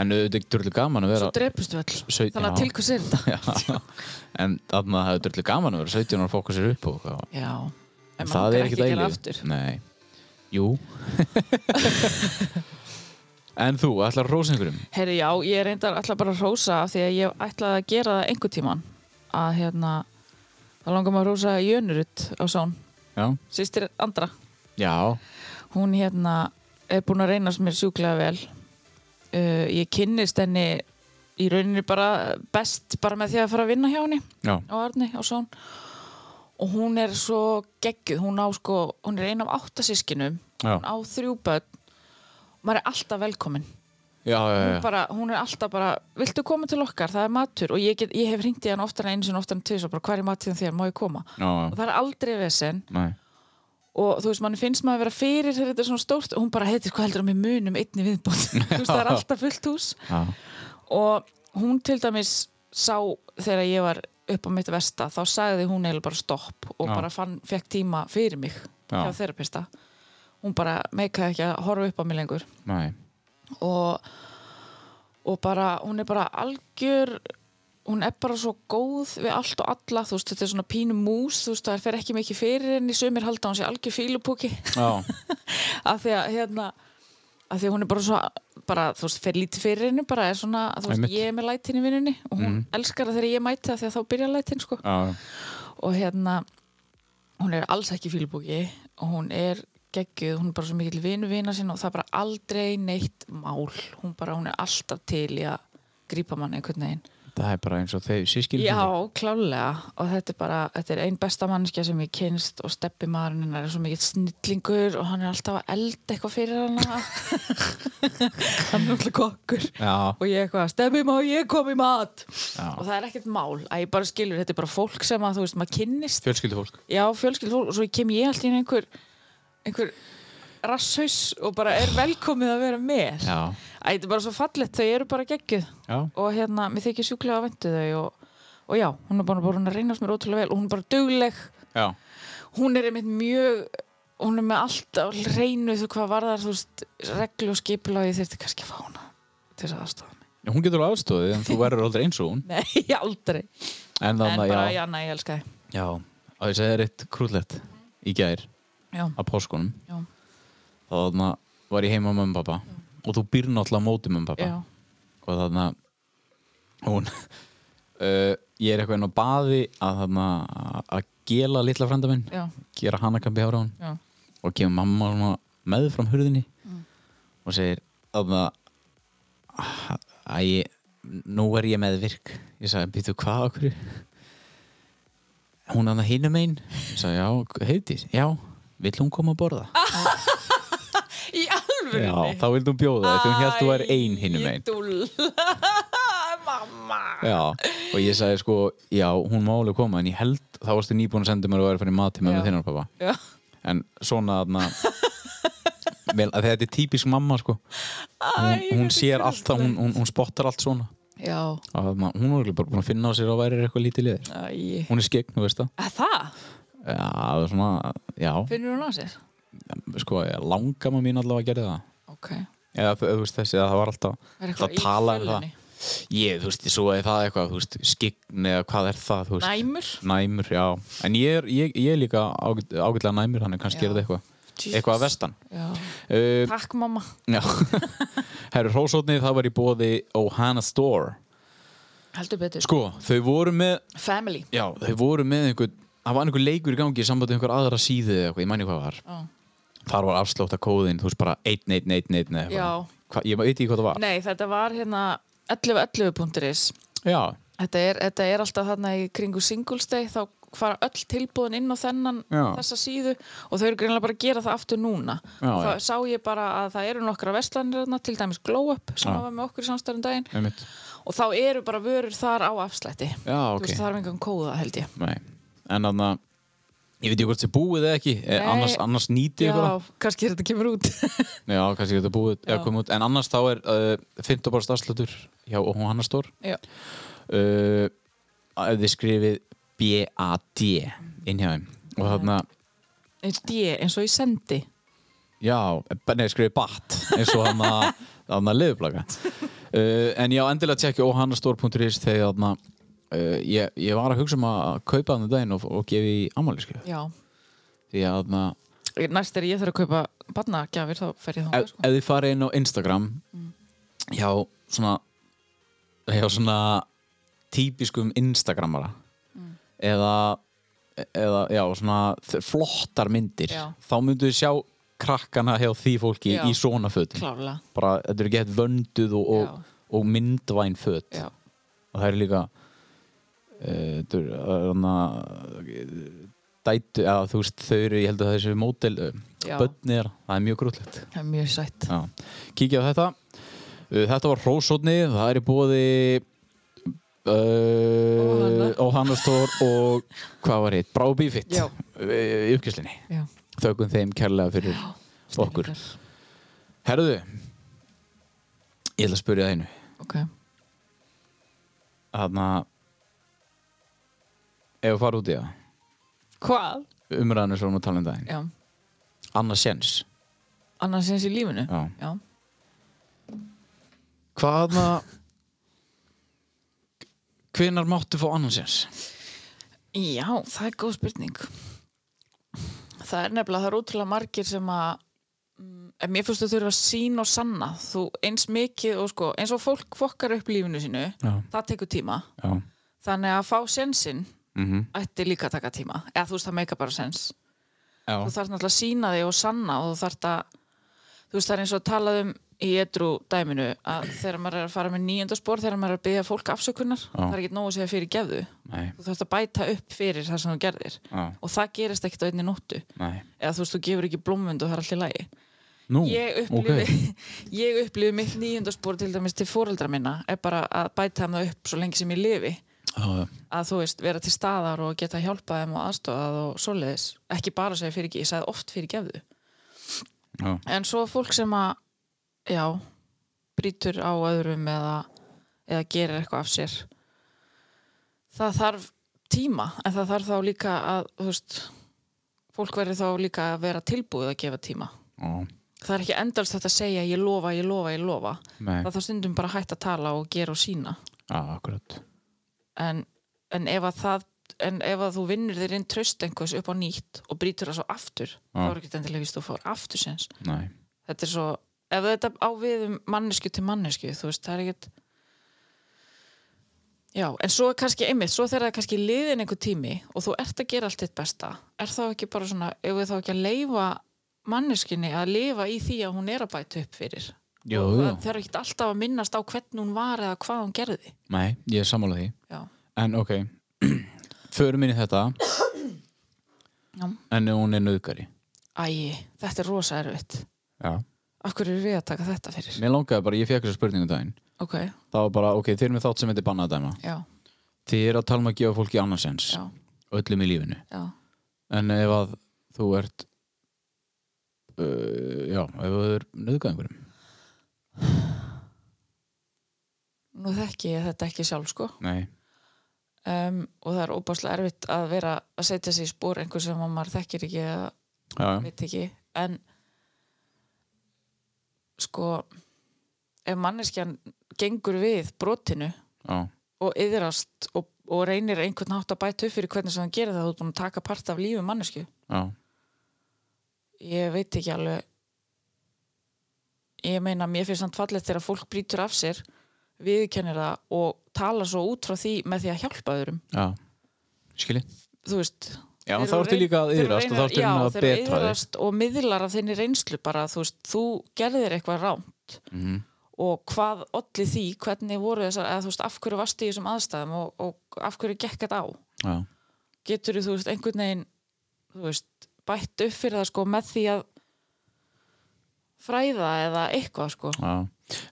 En auðvitað er drullu gaman að svo vera... drepust við all Sau- já. þannig að til hvers er þetta? Já. En þarna það er drullu gaman að vera 17 ára og fókusir upp og eitthvað. Já, en maður það langar er ekkit að gera eilífið. aftur Nei. Jú. en þú, ætlar að rósa einhverjum? Herri, já, ég reyndar alltaf bara að rósa af því að ég ætlaði að gera það einhver tíman að hérna þá langar maður að rósa Jönurut á són Já. sýstir Andra, Já. hún hérna er búin að reynast mér sjúklega vel uh, ég kynnist henni í rauninni bara best bara með því að fara að vinna hjá henni Já. á Arni á Són og hún er svo geggjuð hún á sko, hún er ein af átta sískinum Já. hún á þrjú börn maður er alltaf velkomin já, já, hún, já. bara, hún er alltaf bara, viltu koma til okkar það er matur og ég, get, ég hef hringt í hann oftar en einu sinni oftar en tvis og bara hvað er matur þér, má ég koma og já, það er aldrei vesen nei, og þú veist, mann finnst maður að vera fyrir þegar þetta er svona stórt og hún bara, heiti, hvað heldur að mér munum einni viðbót, þú veist, það er alltaf fullt hús já, og hún til dæmis sá þegar ég var upp á mitt vesta þá sagði hún eiginlega bara stopp og Já. bara fann, fekk tíma fyrir mig Já. hjá þerapista hún bara meikaði ekki að horfa upp á mig lengur nei, og, og bara, hún er bara algjör hún er bara svo góð við allt og alla, þú veist, þetta er svona pínu mús þú veist, það fer ekki mikið fyrir henni sumir halda að hún sé algjör fílupúki já, af því að hérna af því að hún er bara svo bara, þú veist, fer lítið fyrir henni bara er svona, þú veist, Einmitt. ég er með lætin í vinnunni og hún elskar það þegar ég mæti það því að þá byrja lætin sko. já, og hérna hún er alls ekki fílbúki og hún er geggjuð, hún er bara svo mikill vinu vina sinna og það er bara aldrei neitt mál hún bara, hún er alltaf til í að grípa mann einhvern veginn það er bara eins og þeir sískilur Já, klálega og þetta er bara, þetta er ein besta mannskja sem ég kynst og steppi maðurinn hennar er svo mikill snillingur og hann er alltaf að elda eitthvað fyrir hana hann er alltaf kokkur já, og ég eitthvað, steppi má ég kom í mat Já. og það er ekkert mál, að ég bara skilur þetta er bara fólk sem að, þú veist, maður kynnist fjölskyldufólk já, fjölskyld fólk og svo kem ég alltaf inn einhver einhver rasshaus og bara er velkomið að vera með já, Æ, þetta er bara svo fallett, þau eru bara geggjuð já, og hérna, mér þykir sjúklega að vendu þau og, og já, hún er bara búin að reynast mér ótrúlega vel og hún er bara dugleg já, hún er einmitt mjög hún er með allt á reynu þú hvað varðar, þú veist, reglu og skipulagi þurfti kannski að fá hana til þess að aðstofa mig hún getur alveg aðstofið en þú verður aldrei eins og hún nei, aldrei, en en þannig, bara, að- já, já, nei, ég elska þið já og ég segi þér eitt krúllett í gær já, á páskunum já, þá þarna var ég heima með mömmu og pappa og þú býr náttúrulega á móti mömmu og já, pappa og þarna hún uh, ég er eitthvað inn á baði að þarna að gela litla frænda minn já, gera hanakampi ára hún já og kemur mamma svona með fram hurðinni og segir þarna að ég nú er ég með virk ég sagði, býttu hvað okkur hún hann að hinum einn ég sagði, já, heitir, já vill hún koma að borða í alvöru Já, þá vildi hún bjóða það því hún held þú væri ein hinum einn mamma Já, og ég sagði sko, já, hún má alveg koma en ég held, þá varstu nýbúin að senda mér og væri að fara í mat til mömmu Já. þinnar pappa já, en svona þarna vel, að þetta er típisk mamma sko hún, Æ, hún þetta er sér allt það, hún, hún, hún spottar allt svona já, og þarna, hún er örugglega bara búin að finna á sér að væri eitthvað lítið liðir æ hún er skegg, þú veist það Að það, já, það er svona, já, finnur hún á sér sko, langamma mín allavega gerði það ok, eða þú veist þessi að það var alltaf Er eitthvað alltaf í talað um fjölunni? það ég, þú veist, svo er það eitthvað þú veist, skign eða hvað er það þú veist. Næmur? næmur, já, en ég er, ég, ég er líka ágæt- ágætlega næmur hann er kannski Já. er það eitthvað Jesus. eitthvað að vestan já uh, Takk mamma Já Herru Rósótni, það var í bóði Ohana Store Heldur betur Sko, þau voru með Family Já, þau voru með einhver Það var einhver leikur í gangi í sambandi einhver aðra síðu eða eitthvað, ég mæni hvað það var Já. Þar var afslóta kóðin, þú veist bara 1111 eða Já. eitthvað Hva, Ég veit ekki hvað það var Nei, þetta var hérna 11.11.is Já, þetta er, þetta er alltaf þarna í kringu Singles Day þá fara öll tilbúðin inn á þennan Já. þessa síðu og þau eru greinlega bara að gera það aftur núna Já, og þá já. sá ég bara að það eru nokkra verslanir þarna, til dæmis Glow Up sem Já. hafa með okkur í samstæðan daginn einmitt og þá eru bara vörur þar á afslætti Já, Þú ok. veist, það er engan kóða held ég Nei. En þannig að Ég veit ekki hvort þið búið eða ekki eh, Nei. annars, annars nýti Já, ykkur það. kannski þetta kemur út Já, kannski þetta búið eða komið út En annars þá er uh, 15 bara stafslutur hjá Ohana Store Já, uh, ef þið skrifið B-A-D inn hjá þeim og þarna, eins D, eins og ég sendi já, b- nei, skrifið BAT eins og þarna, þarna liðuplaka uh, en já, endilega tjekki ohannastór.is þegar þarna uh, ég, ég var að hugsa um að kaupa þannig daginn og, og gefi í ammáli skrif Já, því að þarna, næst er ég þarf að kaupa barnagjafir þá fer ég sko. þá ef, ef þið farið inn á Instagram Mm. hjá svona hjá svona típiskum Instagramara Mm. eða eða, já, svona þ- flottar myndir Já. þá myndu við sjá krakkana hjá því fólki Já. í svona fötum klálega bara, þetta eru gett vönduð og, og, Já. og myndvæn föt já. og það er líka uh, þetta er þarna, eh, dætu, eða þú veist, þau eru, ég held að þessu mótel, Já. bönni er, það er mjög grútlegt. það er mjög sætt Já. Kíkja á þetta. Uh, Þetta var Rósotni, það er í bóði Óhanna. uh, Óhannastór og hvað var hitt? Brá Bífitt Já. í uppkjöslinni. Já, Þökkum þeim kærlega fyrir okkur. snillingar. Herðu, ég ætla að spyrja það einu. ok, Þannig að ef við fara út í það hvað? umræðanir svo um að tala um daginn Já, annars séns annars eins í lífinu Já. já. hvaðna hvenar máttu fá annars séns Já, það er góð spurning. Það er nefnilega, það er ótrúlega margir sem að mm, en mér finnst þau þurfa að sín og sanna þú eins mikið og sko eins og fólk fokkar upp lífinu sínu já, það tekur tíma, já, þannig að fá sensin mm ætti líka að taka tíma eða þú veist það meika bara sens já. þú þarf náttúrulega að sína þig og sanna og þú þarf að þú veist það er eins og talað um í edru dæminu að þegar maður er að fara með nýjönda spór þegar maður er að byggja fólk afsökunar það er ekki nóg að segja fyrir gefðu nei, þú þarfst að bæta upp fyrir það sem þú gerðir já, og það gerist ekkert á einni nóttu nei eða þú veist, þú gefur ekki blómvend og það er allir lægi nú, ég upplifi, ég upplifi mitt nýjöndarspor til dæmis til fóreldra minna er bara að bæta þeim það upp svo lengi sem ég lifi já, að þú veist, vera til staðar og geta hjálpað þeim og aðstofað og svoleiðis ekki bara segja fyrir ekki, ég sagði oft fyrir gefðu já, en svo fólk sem að, já brýtur á öðrum eða, eða gerir eitthvað af sér það þarf tíma en það þarf þá líka að þú veist, fólk verður þá líka að vera tilbúið að gefa tíma já, það er ekki endalst þetta að segja ég lofa, ég lofa, ég lofa nei það þarf stundum bara að hætta að tala og gera og sína já, akkurat en, en ef að það en ef að þú vinnur þér inn tröst einhvers upp á nýtt og brýtur það svo aftur þá er ekki endilega víst að þú fór aftur sens nei, þetta er svo, ef þetta á við um mannesku til mannesku, þú veist, það er ekkert já, en svo er kannski einmitt, svo þegar það er kannski liðin einhver tími og þú ert að gera allt þitt besta er þá ekki bara svona, ef við þá ekki að leifa manneskinni að lifa í því að hún er að bæta upp fyrir Jú, og það jú. þarf ekki alltaf að minnast á hvern hún var eða hvað hún gerði nei, ég er sammála því já, en ok, förum inn í þetta Já. en ef hún er nöðgari ægi, þetta er rosa erfitt já, af hverju erum við að taka þetta fyrir mér langaði bara, ég fekk þessu spurningu um daginn ok, það var bara, ok, þeir eru með þátt sem heitir bannað dæma já, Þið er að tala um að gefa fólki annarsens já, öllum í lífinu já en ef að þú ert uh, já, ef þú er nöðgað einhverjum nú þekki ég þetta ekki sjálf sko Nei, um, og það er óbáslega erfitt að vera að setja sig í spór einhver sem að maður þekkir ekki eða já, já, veit ekki en sko ef manneskjan gengur við brotinu já, og yðrast og, og reynir einhvern nátt að bæta upp fyrir hvernig sem hann gerir það þú ert búin að taka part af lífi mannesku já. ég veit ekki alveg ég meina mér finnst hann fallegt þegar fólk brýtur af sér viðkennir það og tala svo út frá því með því að hjálpa öðrum já. skilji þú veist Já, Þeir þá eru ertu reyn- líka að þeir eru yðrast og þá reyna- ertu að Já, þeir eru betra þig yðrast og miðlar af þinni reynslu bara, þú veist, þú gerðir eitthvað rámt Mhm. og hvað olli því, hvernig voru þessar, eða þú veist, af hverju varstu í þessum aðstæðum og, og af hverju gekk þetta á? Já, Getur þú, veist, einhvern veginn, þú veist, bætt upp fyrir það sko með því að fræða eða eitthvað sko. já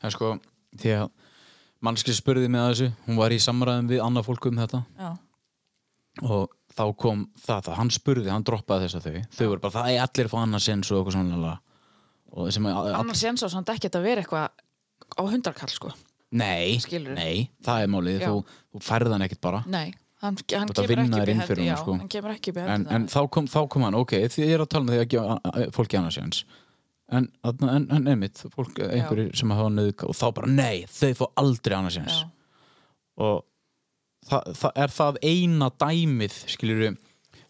En sko, því að mannski spurði mig að þessu, hún var í samræðum við annað fólk um þetta Já, og þá kom það, það hann spurði, hann droppaði þess að þau þau voru bara, það er allir að fá annarsens og eitthvað svona lala." og sem að annars séns á samt ekki að vera eitthvað á hundarkall sko. Nei, Skilurðu? nei, það er málið, Já. þú, þú færðan ekkert bara Nei, hann, hann, Þú ert að kemur, vinna ekki þér upp í inn fyrir honum, hendi, já, sko. hann kemur ekki upp í En, hendi en þá, kom, þá kom hann, ok, þið er að tala með því að gefa a- a- fólki annars hans En, þarna- en, en einmitt, fólk, einhverjir sem hafa nöðuka og þá bara, nei, þau fá aldrei annars hans Já. Og það, það er það eina dæmið, skilur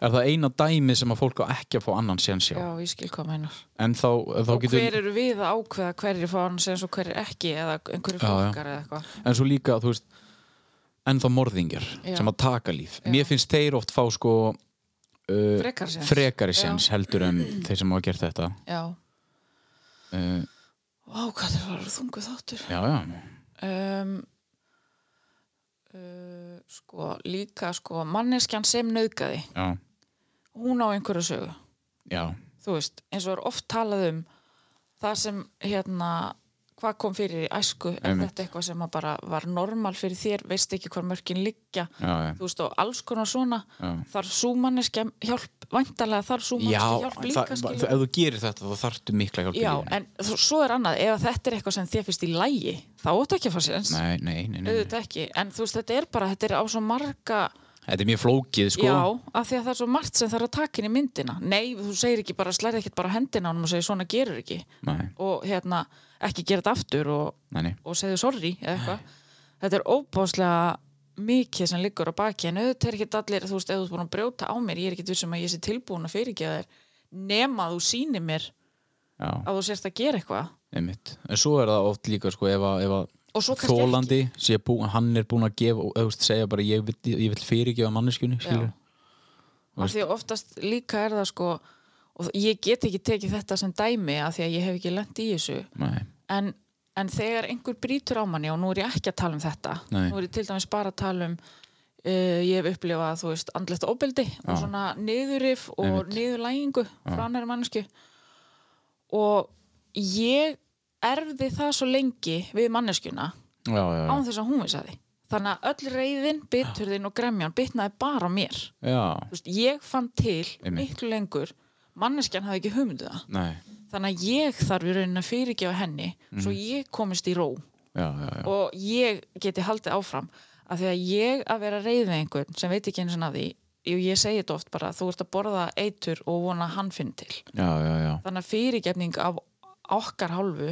er það eina dæmið sem að fólk á ekki að fá annan séns hjá Já, ég skil hvað meinar En þá, þá og getur, hver eru við að ákveða hverjir fá hann sem svo hverjir ekki eða einhverju já. flokkar eða eitthvað en svo líka, þú veist En þá morðingjar Já. sem að taka líf Já. Mér finnst þeir oft fá sko uh, frekar sér frekari sens heldur en þeir sem hafa gert þetta já, uh, Vá, hvað það var þungu þáttur já, já, um, uh, sko, líka sko manneskjan sem nöðgaði já, hún á einhverju sögu já, þú veist, eins og er oft talað um það sem hérna hvað kom fyrir í æsku er Einmitt. þetta eitthvað sem að bara var normal fyrir þér veist ekki hvað mörkin liggja já, já, þú veist og alls konar svona já. þarf súmanniski hjálp væntalega þarf Já, súmanniski hjálp líka það, skilur. ef þú gerir þetta þá þarftu mikla hjálp í Já, lífinu. en þ- svo er annað, ef þetta er eitthvað sem þér finnst í lægi, þá óttu ekki að fá sér eins Nei, nei, nei, nei, nei. auðvitað ekki, en þú veist, þetta er bara þetta er á svo marga, Þetta er mjög flókið sko já af því að það er svo margt sem þarf að taka inn í myndina nei, þú segir ekki bara, slærið ekkert bara á hendina á honum og segir svona gerur ekki Nei, og hérna, ekki gera þetta aftur og, nei, nei. og segðu sorry eða eitthvað þetta er óbáslega mikið sem liggur á baki en auðvitað er ekki allir, þú veist, ef þú ert búin að brjóta á mér ég er ekki vissum að ég sé tilbúin að fyrirgeða þér nema þú sýnir mér Já, að þú sérst að gera eitthvað einmitt En svo er það oft líka sko ef að, ef Og svo að kannski þólandi sé bú, hann er búinn að gefa og eða, þú veist, segja bara ég vil, ég vil fyrirgefa manneskjunni skilur af því að oftast líka er það sko og ég get ekki tekið þetta sem dæmi af því að ég hef ekki lent í þessu Nei, en, en þegar einhver brýtur á manni og nú er ég ekki að tala um þetta Nei. nú er ég til dæmis bara að tala um uh, ég hef upplifað þú veist andlegt óbeldi og svona niðurif og Einmitt. niðurlægingu frá annari mannsku og ég erfði það svo lengi við manneskuna já, já, já, án þess að hún vissi að því þannig að öll reyðin, biturðin og gremjan bitnaði bara á mér já. Þú veist, ég fann til Einmitt. miklu lengur manneskjan hafði ekki hugmyndu það Nei, þannig að ég þarf í raunin að fyrirgefa henni svo ég komist í ró já, já, Mhm. já og ég geti haldið áfram af því að ég að vera reyð með einhvern sem veit ekki eins og að því og ég segi þetta oft bara, þú ert að borða eitur og vona að hann finn til Já, já, já, þannig að fyrirgefning af okkar hálfu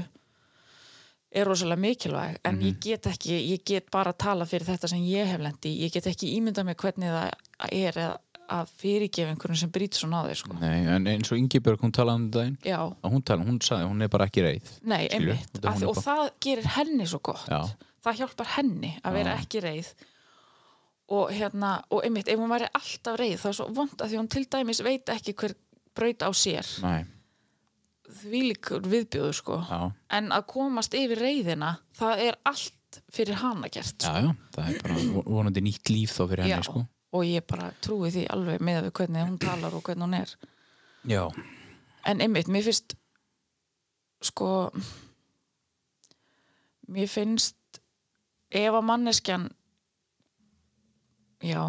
er rosalega mikilvæg Mhm. en ég get ekki, ég get bara að tala fyrir þetta sem ég hef lendi, ég get ekki ímyndað mér hvernig það er að- að fyrirgefa einhvern sem brýtur svona á þér sko. nei, en eins og Ingibjörg hún talaði um daginn já, að hún talaði, hún sagði, hún er bara ekki reið nei, Skilur, einmitt þetta er af, því- hún og bara- það gerir henni svo gott Já. það hjálpar henni að vera ekki reið og hérna, og einmitt ef hún væri alltaf reið þá er svo vond að því hún til dæmis veit ekki hver braut á sér Nei, þvílíkur viðbjóður sko já, en að komast yfir reyðina það er allt fyrir hana gert já, já Það er bara von- vonandi nýtt líf þá fyrir henni sko og ég bara trúi því alveg með að við hvernig hún talar og hvernig hún er Já, en einmitt, mér finnst sko mér finnst ef að manneskjan já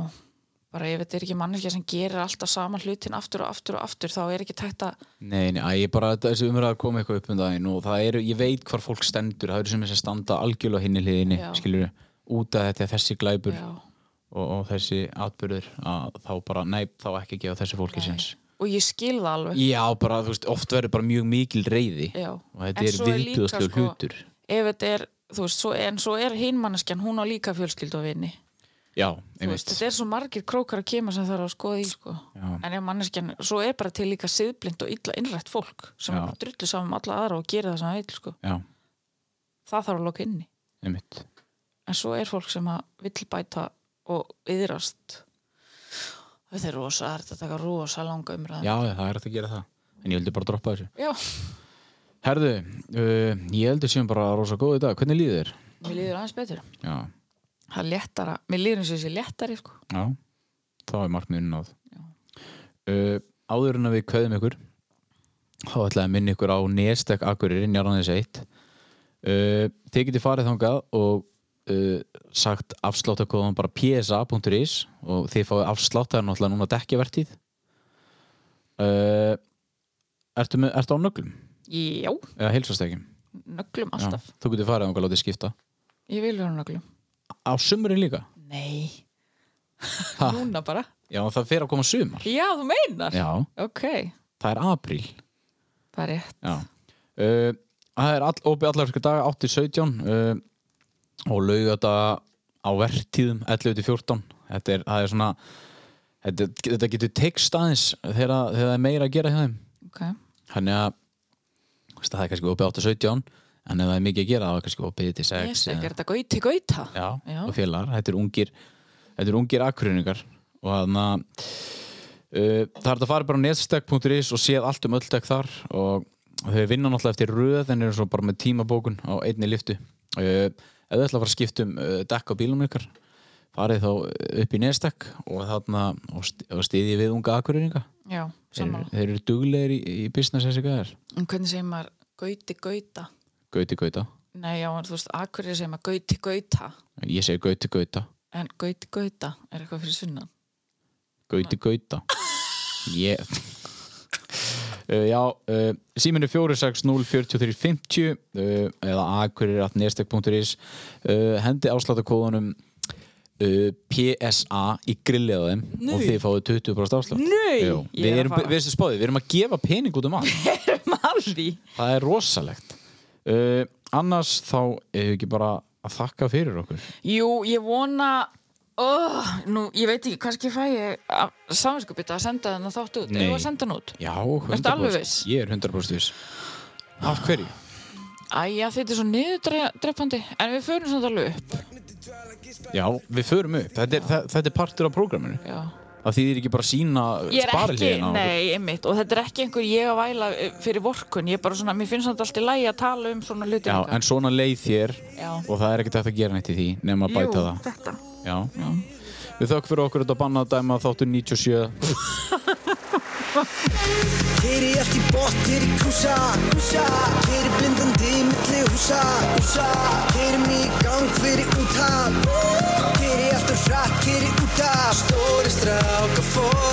bara ef þetta er ekki manneskja sem gerir alltaf sama hlutin aftur og aftur og aftur þá er ekki tætt að Nei, nei, æ, ég bara þessi umræða kom eitthvað upp um daginn og það eru, ég veit hvar fólk stendur það eru sem þess að standa algjörlega á hinni hliðinni Já. skilur, út af þetta er þessi glæpur já. og, og þessi atbyrður að þá bara, nei, þá ekki gefa þessu fólki sinns. og ég skil það alveg Já, bara, þú veist, oft verður bara mjög mikil reyði Já. og þetta En er svo er líka, viðbjöðslegur sko, hlutur ef þetta er, þú veist, svo, en svo er hinmanneskjan hún á líka fjölskyldu og vinni Já, Þú veist, einmitt þetta er svo margir krókar að kemur sem þarf að skoða í sko. Já. en ef manneskjan, svo er bara til líka siðblind og illa innrætt fólk sem Já. er bara drullu saman um alla aðra og gerir það sem það vil sko. Já, það þarf að loka inni einmitt en svo er fólk sem að vill bæta og yðrast þetta er rosa, það er að taka rosa langa umræðan Já, já, það er hægt að gera það En ég vildi bara droppa þessu Já, Herðu, uh, ég heldur sem bara rosa góð í dag Hvernig líður þér? mér líður aðeins betur Já, það er léttara, mér líður eins og þessi léttari sko. já Þá er markmiðun náð uh, Áður en að við kveðum ykkur Þá ætlaði að minna ykkur á Nestek Akureyri, Njarðanes 1 uh, Þið getið farið þangað og uh, sagt afsláttakóðan bara psa.is og þið fáið afsláttar náttúrulega núna dekkjavertíð uh, Ertu, með, ertu á nöglum? Já, Eða heilsastekjum? nöglum Já, alltaf þú getur farið þangað og látið skipta Ég vil vera nöglum á sumurinn líka Nei, ha, núna bara já það fer að koma sumar Já, þú meinar já, Ok, það er apríl það er rétt já. Uh, það er all, opið allar fyrir daga 8-17 uh, og laugata á vertíðum 11-14 þetta er, það er svona þetta, þetta getur tekst aðeins þegar, þegar það er meira að gera hjá þeim okay. þannig að þú veist, það er kannski opið 8-17 en ef það er mikið að gera þá er kannski opið til 6 Yes, eða- ekki er þetta gauti gauta já, Já. og félagar, þetta er ungir þetta er ungir akkurinningar og þannig að uh, það er þetta að fara bara á netstek.is og séð allt um öll tek þar og þau vinna náttúrulega eftir röð en eru svo bara með tímabókun á einni liftu uh, ef þau ætla að fara að skipta um uh, dekk á bílum ykkar uh, farið þá upp í netstek og þarna og sti- og stiðið við unga akkurinninga já, Þeir, sammála þeir eru duglegir í, í business þessi gæðar En hvernig segir maður gauti gauta? Gauti Gauta Nei, já, en þú veist, akkur segir maður gauti gauta Ég segi Gauti Gauta En gauti gauta er eitthvað fyrir sunnan Gauti Gauta Ég Uh, já, uh, síminu 4604350 uh, eða akkurir.nestek.is uh, hendi áslátakóðunum uh, PSA í grillið á þeim Nei. og þið fáið 20% afslátt Nei, Jú, ég Við er að erum, fara. við erum spáðið, við erum að gefa pening út um allt Malvi Það er rosalegt uh, Annars þá hefur ekki bara að þakka fyrir okkur Jú, ég vona oh, Nú, ég veit ekki, kannski fæ ég saminskupið að senda þennan þátt út Nei. Eða að senda hann út Já, Ertu alveg viss? Ég er 100% viss Af hverju? Æja, þetta er svo niðurdreppandi En við förum samt alveg upp Já, við förum upp Þetta er, það, þetta er partur af prógraminu já. Það þýðir ekki bara að sína Ég er ekki, sparliðina nei, einmitt Og þetta er ekki einhver ég að væla eh, fyrir vorkun Ég er bara svona, mér finnst þetta alltaf í lægi að tala um svona hluti Já, líka. en svona leið þér Já. og það er ekkert hægt að gera neitt í því nema að Jú, bæta það þetta Já. Við þökk fyrir okkur þetta bannað dæma þáttur 97 Keiri allt í bótt, keiri kúsa, kúsa Keiri blindandi milli húsa, húsa Keiri mig í gang fyrir útan Keiri alltaf hratt, keiri út af Stóri stráka fór